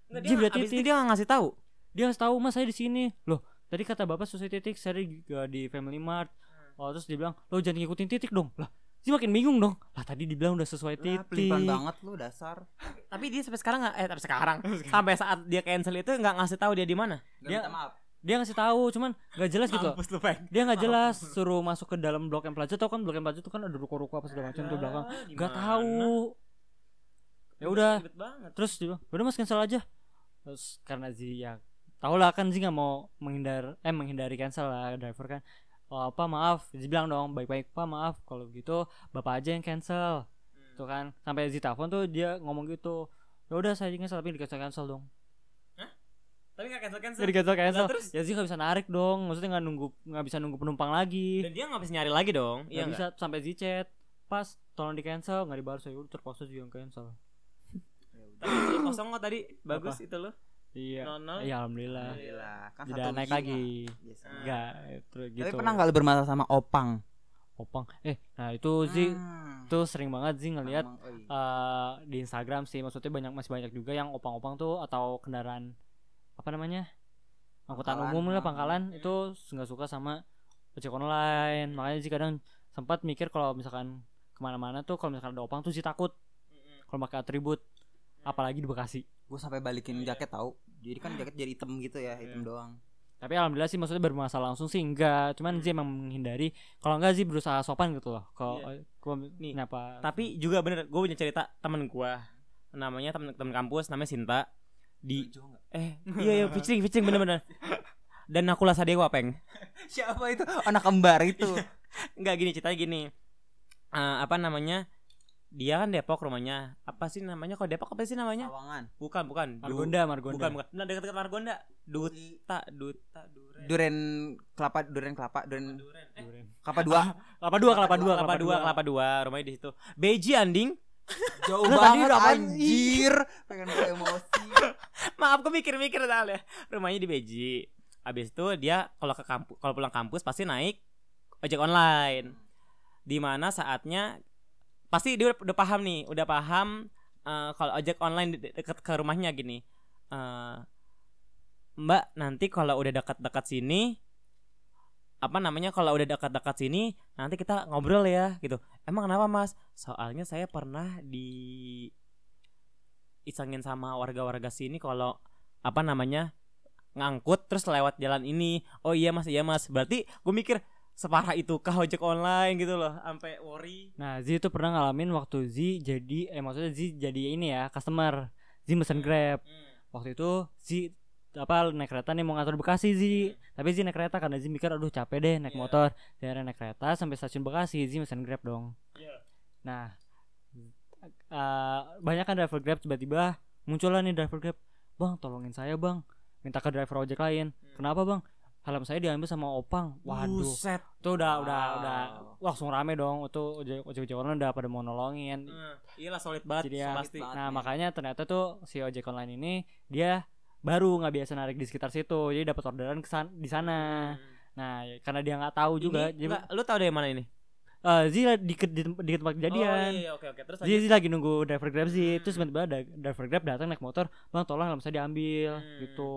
A: Nggak,
C: Ji, berarti
A: abis itu
C: titik.
A: dia nggak ngasih tahu.
C: dia harus tahu mas saya di sini loh tadi kata bapak sesuai titik saya di, eh, di Family Mart oh terus dibilang lo jangan ngikutin titik dong lah sih makin bingung dong lah tadi dibilang udah sesuai
B: Lah,
C: titik
B: pelin Ah, banget lu dasar.
A: Tapi dia sampai sekarang nggak eh sampai
C: *laughs*
A: sekarang sampai saat dia cancel itu nggak ngasih tahu dia di mana.
B: Nggak
C: Dia- Iya.
B: minta maaf.
C: dia ngasih tahu cuman nggak jelas gitu
A: Mampus lu, Peng.
C: dia nggak jelas suruh masuk ke dalam blok M Plaza tau kan blok M Plaza itu kan ada ruko-ruko apa segala macam tuh belakang nggak tahu ya udah
A: Ribet banget.
C: terus dia bilang, "Ya udah mas cancel aja terus karena Zi ya tau lah kan Zi nggak mau menghindar eh menghindari cancel lah driver kan oh, apa maaf Zi bilang dong baik-baik pak maaf kalau gitu bapak aja yang cancel tuh kan sampai Zi telepon tuh dia ngomong gitu ya udah saya cancel tapi di cancel cancel dong
A: Tapi nggak cancel cancel.
C: di cancel cancel
A: terus?
C: ya Zi nggak bisa narik dong maksudnya nggak nunggu nggak bisa nunggu penumpang lagi
A: Dan dia nggak bisa nyari lagi dong.
C: nggak
A: Iya
C: bisa sampai Zi chat pas tolong di cancel nggak dibalas saya udah terpaksa juga yang cancel
A: nggak? Tapi Ya itu kosong kok tadi. Bagus itu loh.
C: iya
A: Nol nol.
C: iya alhamdulillah
B: Alhamdulillah. Kan
C: tidak
B: satu ya?
C: naik
B: gina.
C: lagi Nah.
B: Biasa.
C: Enggak, terus gitu.
B: Tapi pernah nggak lu bermasalah sama opang?
C: Opang. Eh, nah itu Zi
B: Hmm.
C: tuh sering banget Zi ngelihat
B: Emang, oi.
C: eh, di Instagram sih. Maksudnya banyak masih banyak juga yang opang-opang tuh atau kendaraan apa namanya? angkutan
B: Pangkalan,
C: umum lah
B: ah.
C: pangkalan itu nggak suka sama ojek online. Makanya Zi kadang sempat mikir kalau misalkan kemana-mana tuh kalau misalkan ada opang tuh Zi takut kalau pakai atribut apalagi di Bekasi.
B: gue sampai balikin jaket tau jadi kan jaket jadi hitam gitu ya hitam doang
C: Tapi alhamdulillah sih maksudnya bermasalah langsung sih enggak, cuman
B: Hmm.
C: Zi emang menghindari kalau enggak Zi berusaha sopan gitu loh. Kalau
B: Iya.
A: Nih,
C: kenapa
A: Tapi juga bener. Gue punya cerita temen gue. Namanya temen temen kampus. Namanya Sinta. Di Eh, iya iya featuring featuring bener-bener. Dan Nakula Sadewa peng.
B: siapa itu anak kembar itu
A: Enggak gini ceritanya gini. Eh, apa namanya? Dia kan Depok rumahnya. Apa sih namanya? Kalau Depok apa sih namanya?
B: lawangan
A: Bukan, bukan. Du-
C: Margonda, Margonda. Eh.
A: Bukan, bukan. Nah, dekat-dekat Margonda. Duta, Duta, Duren.
B: duren kelapa duren kelapa duren
A: Duren. Eh,
C: Durian.
B: kelapa dua
C: Kelapa dua, kelapa dua,
A: kelapa dua, kelapa dua, rumahnya di situ. Beji anding.
B: jauh
A: Lah, tadi
B: banget
A: udah apaan?
B: anjir pengen gue emosi
A: Maaf, aku mikir-mikir soalnya. Rumahnya di Beji. Abis itu dia kalau ke kampus, kalau pulang kampus pasti naik ojek online. Di mana saatnya pasti dia udah, udah paham nih, udah paham eh, kalau ojek online de- deket ke rumahnya gini. Eh, Mbak, nanti kalau udah dekat-dekat sini apa namanya kalau udah dekat-dekat sini nanti kita ngobrol ya gitu. Emang kenapa, Mas? Soalnya saya pernah di isengin sama warga-warga sini kalau apa namanya ngangkut terus lewat jalan ini. Oh iya, Mas, iya, Mas. Berarti gue mikir separah itu kah ojek online gitu loh, sampai worry.
C: Nah, Zi itu pernah ngalamin waktu Zi Hmm.
A: Hmm.
C: jadi eh maksudnya Zi jadi ini ya, customer. Zi mesen Grab. Waktu itu Zi apa naik kereta nih mau ngatur Bekasi Zi tapi Zi naik kereta karena Zi mikir aduh capek deh naik motor dari naik kereta sampai stasiun Bekasi Zi pesan Grab dong nah eh, banyak kan driver Grab tiba-tiba muncullah nih driver Grab bang tolongin saya bang minta ke driver ojek lain kenapa bang helm saya diambil sama opang waduh
A: Buset.
C: itu udah
A: Wow.
C: udah udah langsung rame dong itu ojek ojek online udah pada mau nolongin
A: Eh, iyalah solid banget
C: Jadi ya,
A: pasti.
B: banget.
C: Nah
B: Admin.
C: makanya ternyata tuh si ojek online ini dia baru nggak biasa narik di sekitar situ, jadi dapat orderan kesan di sana. Nah ya, karena dia nggak tahu juga,
A: Hmm. Ini,
C: jadi
A: enggak, lu tahu dari mana ini?
C: eh, Zee lah di, ke- di, tempat- di tempat kejadian.
A: Oh, iya, oke oke. Terus
C: Zee Zee lagi nunggu driver grab sih,
A: Hmm.
C: terus tiba-tiba ada driver grab datang naik motor, bang tolong helm saya diambil
A: Hmm.
C: gitu.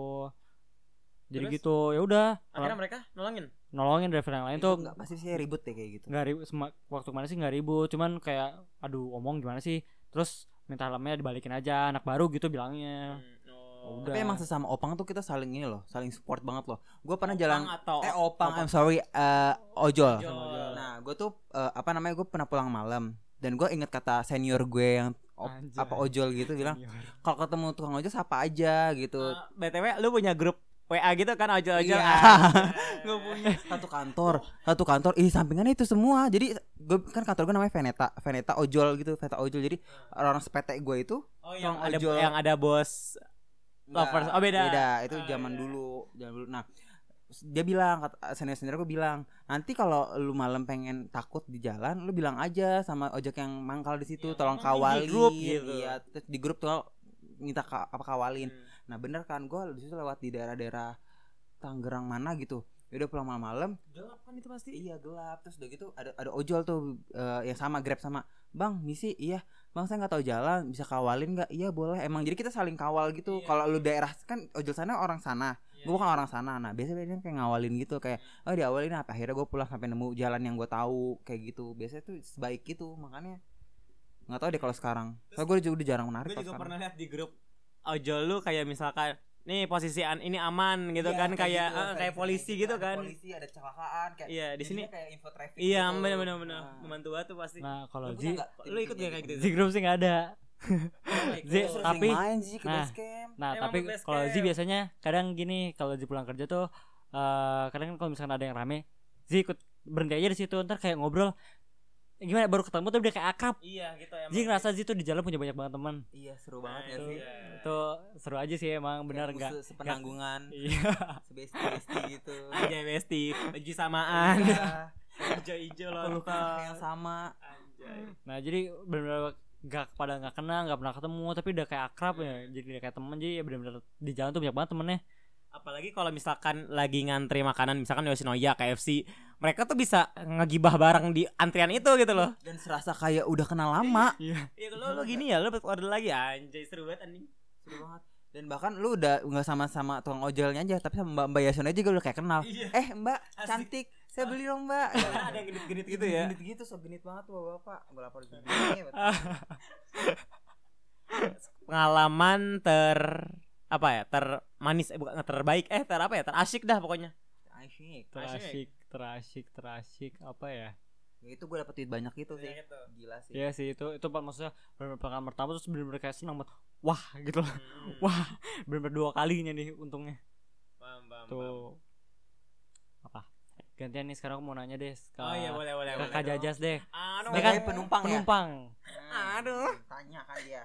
C: Jadi
A: Terus?
C: gitu ya udah
A: akhirnya mereka nolongin.
C: nolongin driver yang lain tuh
B: nggak pasti sih ribut deh kayak gitu
C: Nah, nggak ribut sema- waktu kemarin sih nggak ribut cuman kayak aduh omong gimana sih terus minta helmnya dibalikin aja anak baru gitu bilangnya
A: Hmm, oh.
C: Udah.
B: tapi emang sesama opang tuh kita saling ini loh saling support banget loh gue pernah
A: Opang
B: jalan
A: atau
B: eh opang, I'm sorry eh, ojol
A: Ojol.
B: nah gue tuh eh, apa namanya gue pernah pulang malam dan gue inget kata senior gue yang op- Oh,
C: Anjay.
B: apa ojol gitu bilang kalau ketemu tukang ojol sapa aja gitu
A: Eh, BTW lu punya grup WA gitu kan ojol-ojol.
B: *laughs* Iya.
A: Ah. Gua punya.
B: satu kantor satu kantor ih sampingannya itu semua jadi gue kan kantor gue namanya Veneta Veneta ojol gitu Veneta ojol jadi orang sepete gue itu
A: Oh, yang
B: Tukang
A: ada
B: ojol.
A: yang ada bos Lovers.
B: Nggak,
A: Oh, beda.
B: itu
A: Ah,
B: zaman
A: beda.
B: dulu zaman dulu nah dia bilang senior senior gue bilang nanti kalau lu malam pengen takut di jalan lu bilang aja sama ojek yang mangkal di situ
A: Iya,
B: tolong
A: ngomong
B: kawalin
A: di grup gitu.
B: iya terus di grup tuh minta ka- apa kawalin
A: Hmm.
B: nah bener kan gue di situ lewat di daerah-daerah Tangerang mana gitu udah pulang malam-malam
A: Gelap kan itu pasti.
B: iya gelap terus udah gitu ada ada ojol tuh eh, yang sama grab sama bang misi iya bang saya nggak tahu jalan bisa kawalin nggak iya boleh emang jadi kita saling kawal gitu
A: Iya.
B: kalau lu daerah kan ojol sana orang sana
A: Iya,
B: gue bukan orang sana nah biasanya dia kayak ngawalin gitu kayak oh diawalin apa akhirnya gue pulang sampai nemu jalan yang gue tahu kayak gitu biasanya tuh sebaik gitu makanya nggak tahu deh kalau sekarang soalnya gue juga udah jarang menarik
A: gue
B: kalau
A: juga
B: sekarang
A: pernah lihat di grup ojol lu kayak misalkan nih posisi an ini aman gitu
B: Iya,
A: kan kayak
B: gitu,
A: eh, kayak polisi
B: kayak
A: gitu
B: ada
A: kan
B: polisi ada kecelakaan kayak
A: Iya, di sini-
B: jadinya kayak info traffic
A: iya
B: gitu.
A: bener bener bener
B: Nah.
A: membantu banget tuh pasti
C: nah
B: Lu
C: kalau
B: punya
C: Ji
B: nggak
A: lu ikut gak
B: tim-tim
A: kayak gitu
C: Z Group sih nggak ada. Z,
B: Gua sering
C: tapi
B: main sih ke
C: nah.
B: basecamp.
C: nah
A: Emang
C: tapi
A: ke base
C: kalau Z
A: camp.
C: biasanya kadang gini kalau Z pulang kerja tuh eh kadang kan kalau misalkan ada yang rame Z ikut berhenti aja di situ ntar kayak ngobrol "Eh, gimana baru ketemu tuh udah kayak akrab
A: iya gitu
C: Z ngerasa Z tuh di jalan punya banyak banget teman
B: Iya seru
A: Nah,
B: banget ya
A: itu
B: sih.
A: dia.
C: itu seru aja sih emang benar
B: Kayak
C: enggak
B: musuh Sepenanggungan,
C: iya
A: *laughs*
B: sebesti-besti gitu.
A: aja besti baju samaan
B: Iya,
A: hijau hijau
B: Pelukan yang sama.
A: anjay
C: nah jadi benar-benar gak pada nggak kenal nggak pernah ketemu tapi udah kayak akrab ya jadi udah kayak temen jadi benar-benar di jalan tuh banyak banget temennya
A: apalagi kalau misalkan lagi ngantri makanan misalkan Yoshinoya KFC mereka tuh bisa ngegibah bareng di antrian itu gitu loh
B: Dan serasa kayak udah kenal lama.
A: iya lu, lu gini ya lu dapat order lagi anjay seru banget anjing
B: Seru banget. Dan bahkan lu udah nggak sama-sama tukang ojolnya aja, tapi sama Mbak Mbak Yasona aja udah kayak kenal.
A: Iya.
B: Eh Mbak,
A: Asik.
B: cantik. Saya beli dong Mbak.
A: Karena *laughs* ada yang genit-genit gitu ya
B: Genit gitu, so genit banget tuh bapak. Gue lapar juga. Iya,
A: pengalaman ter apa ya termanis eh bukan terbaik eh ter apa ya terasyik dah pokoknya Asik.
B: Asik.
C: terasik terasik terasik apa ya
B: Ya, itu gue dapet duit banyak gitu sih. Gila sih.
C: Iya sih itu itu Pak, maksudnya benar pengalaman pertama terus benar-benar kayak senang banget. Wah gitu loh. *laughs*
A: wah
C: Wah, benar-benar dua kalinya nih untungnya.
A: paham, paham, paham.
C: Tuh. Apa? Gantian nih sekarang aku mau nanya deh ke,
A: oh iya boleh boleh
C: ke
A: boleh Anu, eh,
C: Kak Jajas deh.
A: Aduh,
C: Ya kan?
B: Sebagai penumpang, ya.
C: Penumpang,
B: Hmm,
A: Aduh.
B: Tanya kan dia.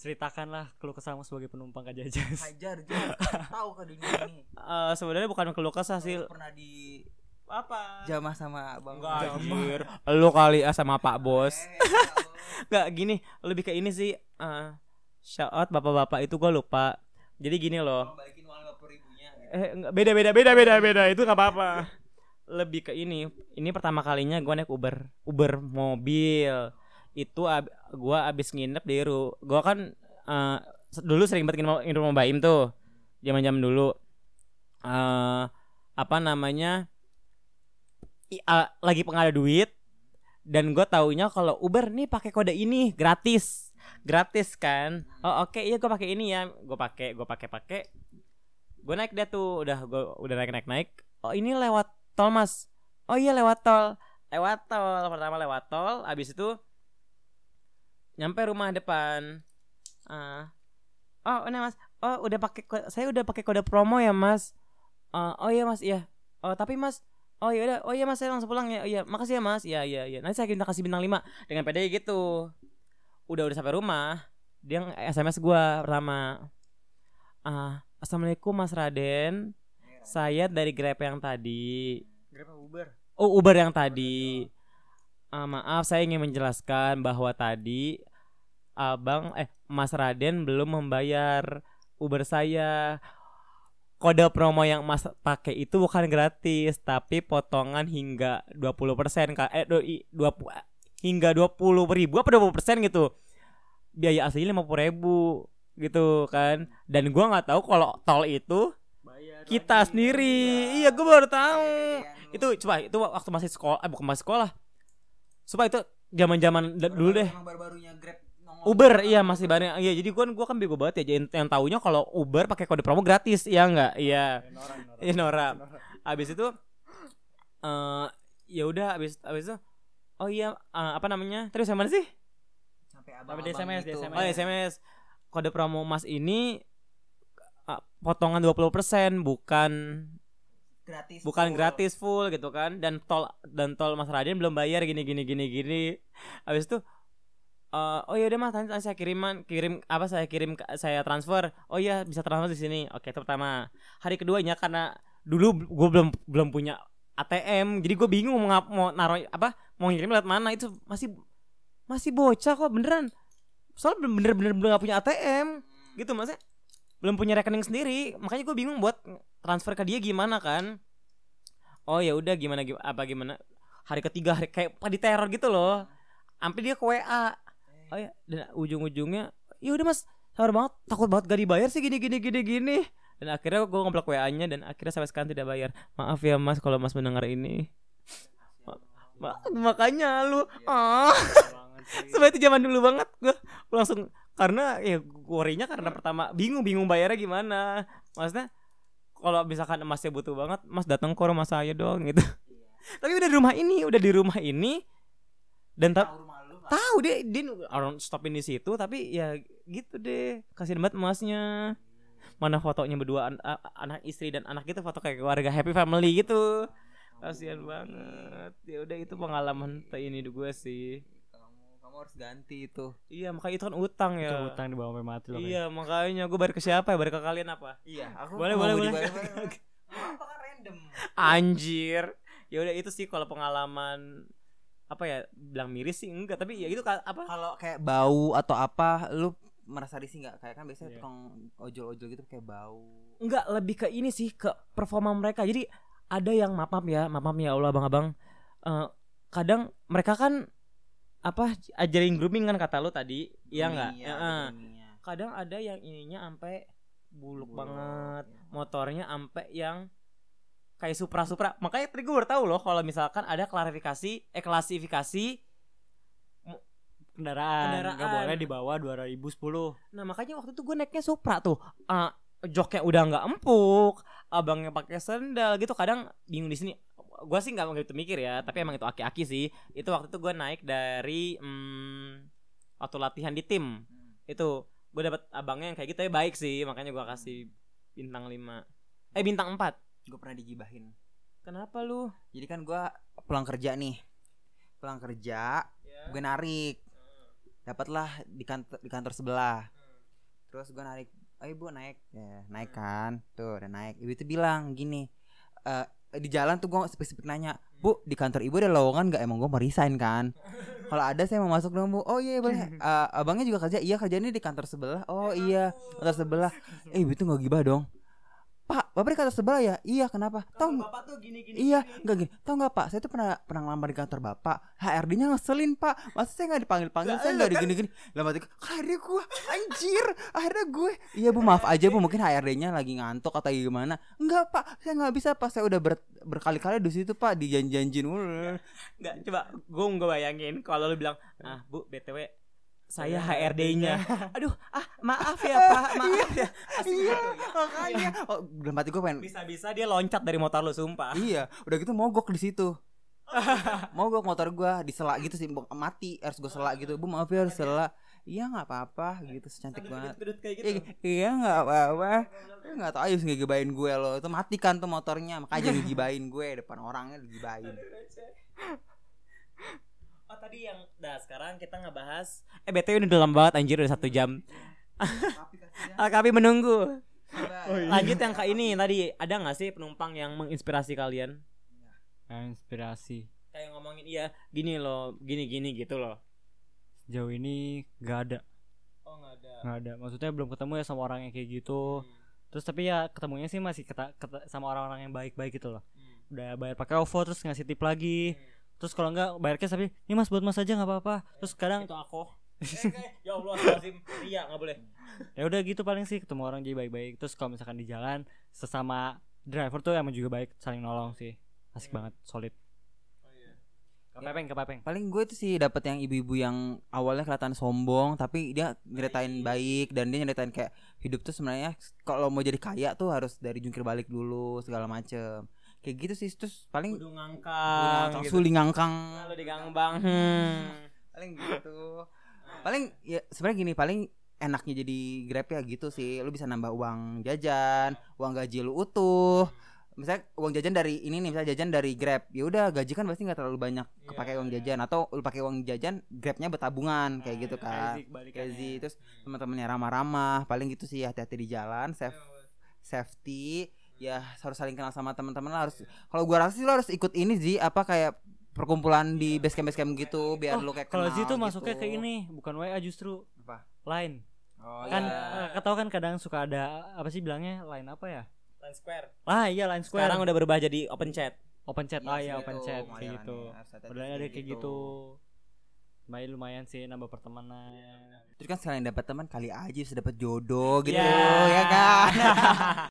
C: ceritakanlah keluh kesahmu sebagai penumpang Kak Jajas.
B: Hajar juga tahu ke dunia ini.
A: Eh, sebenarnya bukan keluh kesah sih
B: Hasil pernah di
A: apa
B: jamah sama Bang.
A: enggak anjir lu kali ah sama Pak Bos
B: Eh, enggak, Bos.
A: Enggak gini lebih ke ini sih eh shout out bapak-bapak itu gua lupa jadi gini loh
B: Bang balikin uang 50.000-nya gitu.
A: Eh, enggak, beda beda beda beda beda itu nggak apa-apa. *laughs* Lebih ke ini, ini pertama kalinya gue naik Uber, Uber mobil. Itu ab- gue abis nginep di ru, gue kan eh, se- dulu sering banget nginep nginep sama Baim tuh, zaman zaman dulu. eh apa namanya? i- eh, lagi pengada duit dan gue taunya kalau Uber nih pakai kode ini gratis gratis kan oh oke iya gue pakai ini ya gue pakai gue pakai pakai gue naik dia tuh udah gue udah naik naik naik oh ini lewat tol mas oh iya lewat tol lewat tol pertama lewat tol abis itu nyampe rumah depan ah oh ini mas oh udah pakai ko- saya udah pakai kode promo ya mas Eh, oh iya mas iya oh tapi mas oh iya udah oh iya mas saya langsung pulang ya oh, iya makasih ya mas iya iya iya nanti saya kita kasih bintang 5 dengan pede gitu udah udah sampai rumah dia nge- sms gua pertama ah assalamualaikum mas Raden saya dari Grab yang tadi
B: Iya. Grab Uber.
A: Oh Uber yang tadi Ah, Maaf saya ingin menjelaskan bahwa tadi Abang eh Mas Raden belum membayar Uber saya Kode promo yang Mas pakai itu bukan gratis Tapi potongan hingga 20% Kak. Eh do- i- 20, hingga 20 ribu apa 20% gitu Biaya asli 50 ribu gitu kan Dan gua nggak tahu kalau tol itu kita sendiri Iya gue baru tahu
B: iya.
A: itu coba itu waktu masih sekolah eh, bukan masih sekolah coba itu zaman zaman dulu deh
B: baru-barunya Grab nongol. gitu.
A: Uber iya masih bareng iya jadi gua gua kan bego banget ya jadi yang taunya kalau Uber pakai kode promo gratis iya enggak iya iya Nora abis itu eh ya udah abis abis itu oh iya eh, apa namanya terus yang mana sih
B: Sampai gitu.
C: di SMS, di SMS.
A: Oh SMS kode promo Mas ini eh, potongan 20% bukan
B: Gratis.
A: bukan gratis full gitu kan dan tol dan tol Mas Raden belum bayar gini gini gini gini habis itu eh, oh ya udah mas nanti saya kiriman kirim apa saya kirim ke- saya transfer oh iya bisa transfer di sini oke itu pertama hari keduanya karena dulu gue belum belum punya ATM jadi gue bingung mau ngap- mau naruh apa mau ngirim lewat mana itu masih masih bocah kok beneran soalnya belum bener-bener belum gak punya ATM gitu maksudnya belum punya rekening sendiri makanya gue bingung buat transfer ke dia gimana kan oh ya udah gimana gimana apa gimana hari ketiga hari kayak di teror gitu loh sampai dia ke WA oh ya dan ujung-ujungnya ya udah mas sabar banget takut banget gak dibayar sih gini gini gini gini dan akhirnya gue ngeblok WA-nya dan akhirnya sampai sekarang tidak bayar maaf ya mas kalau mas mendengar ini Ma- ma- makanya lu ah *laughs* sebenarnya itu zaman dulu banget gue langsung karena ya worry-nya karena pertama bingung bingung bayarnya gimana maksudnya kalau misalkan emasnya butuh banget mas datang ke rumah saya dong gitu tapi udah di rumah ini udah di rumah ini dan tak tahu deh dia orang stopin di situ tapi ya gitu deh kasih banget emasnya mana fotonya berdua an- a- anak istri dan anak itu foto kayak keluarga happy family gitu kasihan banget ya udah itu pengalaman ini gue sih
B: Kamu kamu harus ganti itu.
A: iya makanya itu kan utang ya
C: Itu utang di bawah sampai mati loh.
A: iya makanya gue bayar ke siapa ya bayar ke kalian apa
B: Iya, aku
A: Boleh,
B: mau
A: boleh, boleh.
B: dibayar-
A: *laughs*
B: boleh. Apa kan random?
A: anjir ya udah itu sih kalau pengalaman apa ya bilang miris sih enggak tapi ya itu ka- apa
B: Kalau kayak bau atau apa, lu merasa risih nggak? Kayak kan biasanya
C: Iya.
B: tukang ojol-ojol gitu kayak bau.
A: enggak lebih ke ini sih ke performa mereka jadi ada yang maaf maaf ya maaf maaf ya Allah abang-abang Eh, kadang mereka kan apa ajarin grooming kan kata lu tadi iya enggak
B: Iya,
A: Heeh.
B: ada bunyinya.
A: kadang ada yang ininya sampai buluk,
B: Buluk.
A: banget motornya sampai yang kayak supra supra makanya tadi gue baru tahu loh kalau misalkan ada klarifikasi eh klasifikasi
C: Kendaraan,
A: Kendaraan.
C: nggak boleh di bawah 2010.
A: nah makanya waktu itu gue naiknya supra tuh Ah, joknya udah nggak empuk abangnya pakai sendal gitu kadang bingung di sini gue sih nggak begitu mikir ya tapi emang itu aki-aki sih itu waktu itu gue naik dari hmm, waktu latihan di tim
B: Hmm.
A: itu gue dapet abangnya yang kayak gitu ya baik sih makanya gue kasih bintang 5 eh bintang 4
B: Gue pernah digibahin.
A: Kenapa lu?
B: Jadi kan gua pulang kerja nih. Pulang kerja,
A: Ya.
B: gue narik. Dapatlah di kantor di kantor sebelah. Terus gue narik, "Ayo Bu, naik." Ya, naik kan. Tuh, udah naik. Ibu itu bilang gini, eh di jalan tuh gue spesifik nanya, "Bu, di kantor Ibu ada lowongan nggak? Emang gue mau resign kan?" Kalau ada saya mau masuk dong, Bu. "Oh iya, boleh." "Eh, abangnya juga kerja. Iya, kerjanya di kantor sebelah. Oh iya, kantor
A: *laughs*
B: sebelah. Eh, Ibu itu nggak gibah dong. Pak, bapak di kantor sebelah ya? Iya, kenapa? Tahu
A: Bapak tuh gini-gini.
B: Iya, nggak gini. Tahu nggak Pak? Saya tuh pernah pernah ngelamar di kantor Bapak. HRD-nya ngeselin Pak. Masa saya nggak dipanggil panggil, saya nggak digini-gini. kan Lama tiga, HRD gue, anjir, akhirnya gue. Iya Bu, maaf aja Bu, mungkin HRD-nya lagi ngantuk atau gimana. Enggak Pak, saya nggak bisa Pak. Saya udah ber- berkali-kali di situ Pak, dijanji-janjiin mulu.
A: Nggak, coba gue nggak bayangin kalau lu bilang, "Ah, Bu, BTW saya
B: Iya,
A: HRD-nya." *laughs* Aduh, ah maaf
B: *laughs*
A: ya, Pak. Maaf ya. Pasti
B: Iya, *laughs*
A: gitu ya.
B: makanya. Oh, dalam hati gue pengen.
A: Bisa-bisa dia loncat dari motor lu, sumpah.
B: Iya, udah gitu mogok di situ. mogok motor gua disela gitu sih mati harus gue selak gitu bu maaf ya harus selak iya nggak apa-apa gitu secantik banget
A: Kedut kayak gitu.
B: I- iya nggak apa-apa Lu nggak tahu aja ngegibain gue lo itu matikan tuh motornya makanya jangan gibain gue depan orangnya digibain
A: Oh tadi yang Nah sekarang kita ngebahas Eh BTW ini udah lama banget anjir udah satu jam
B: Oh, iya.
A: Ah, Kami menunggu Lanjut yang ke ini tadi Ada gak sih penumpang yang menginspirasi kalian?
C: Nah, inspirasi
A: Kayak ngomongin iya gini loh Gini-gini gitu loh
C: jauh ini nggak ada
A: Oh gak ada
C: nggak ada maksudnya belum ketemu ya sama orang yang kayak gitu terus tapi ya ketemunya sih masih keta, keta- sama orang-orang yang baik-baik gitu loh
A: Hmm,
C: udah bayar pakai OVO terus ngasih tip lagi terus kalau enggak bayar cash tapi ini mas buat mas aja nggak apa-apa terus kadang
A: Itu aku Eh, Ya Allah astagfirullahaladzim. Iya gak boleh
C: ya udah gitu paling sih ketemu orang jadi baik-baik terus kalau misalkan di jalan sesama driver tuh emang juga baik saling nolong sih
A: Iya.
C: asik banget solid
A: Oh
C: kepepeng kepepeng
B: paling gue tuh sih dapat yang ibu-ibu yang awalnya kelihatan sombong tapi dia nyeritain baik dan dia nyeritain kayak hidup tuh sebenarnya kalau mau jadi kaya tuh harus dari jungkir balik dulu segala macem kayak gitu sih terus paling ah,
A: Kudu
B: Udah
A: ngangkang
B: ngangkang,
A: gitu.
B: suling ngangkang
A: Lalu digangbang hmm.
B: paling gitu paling ya sebenarnya gini paling enaknya jadi grab ya gitu sih lu bisa nambah uang jajan uang gaji lu utuh misalnya uang jajan dari ini nih misalnya jajan dari grab ya udah gaji kan pasti nggak terlalu banyak
C: Iya,
B: kepakai uang jajan atau lu pakai uang jajan grabnya bertabungan
C: Nah,
B: kayak gitu kan Gazi terus teman-temannya ramah-ramah paling gitu sih hati-hati di jalan safe
C: Iya,
B: safety ya harus saling kenal sama teman-teman lah harus kalau gua rasa sih lo harus ikut ini sih apa kayak perkumpulan di basecamp basecamp gitu biar
C: Iya. Oh,
B: lo kayak
C: kalau
B: kenal
C: Z
B: gitu.
C: tuh masuknya ke ini bukan WA justru
B: Apa?
C: line
B: oh,
C: kan
B: iya.
C: eh, ketau kan kadang suka ada apa sih bilangnya line apa ya
A: Line square
C: ah iya line square
A: Sekarang udah berubah jadi open chat
C: open chat ah ya
B: Iya,
C: open
B: gitu,
C: chat
B: makanya
C: kayak gitu
B: harus hati-hati
C: udah ada kayak gitu lumayan lumayan sih nambah pertemanan Iya.
B: terus kan selain dapat teman kali aja bisa dapat jodoh gitu
A: Ya.
B: ya kan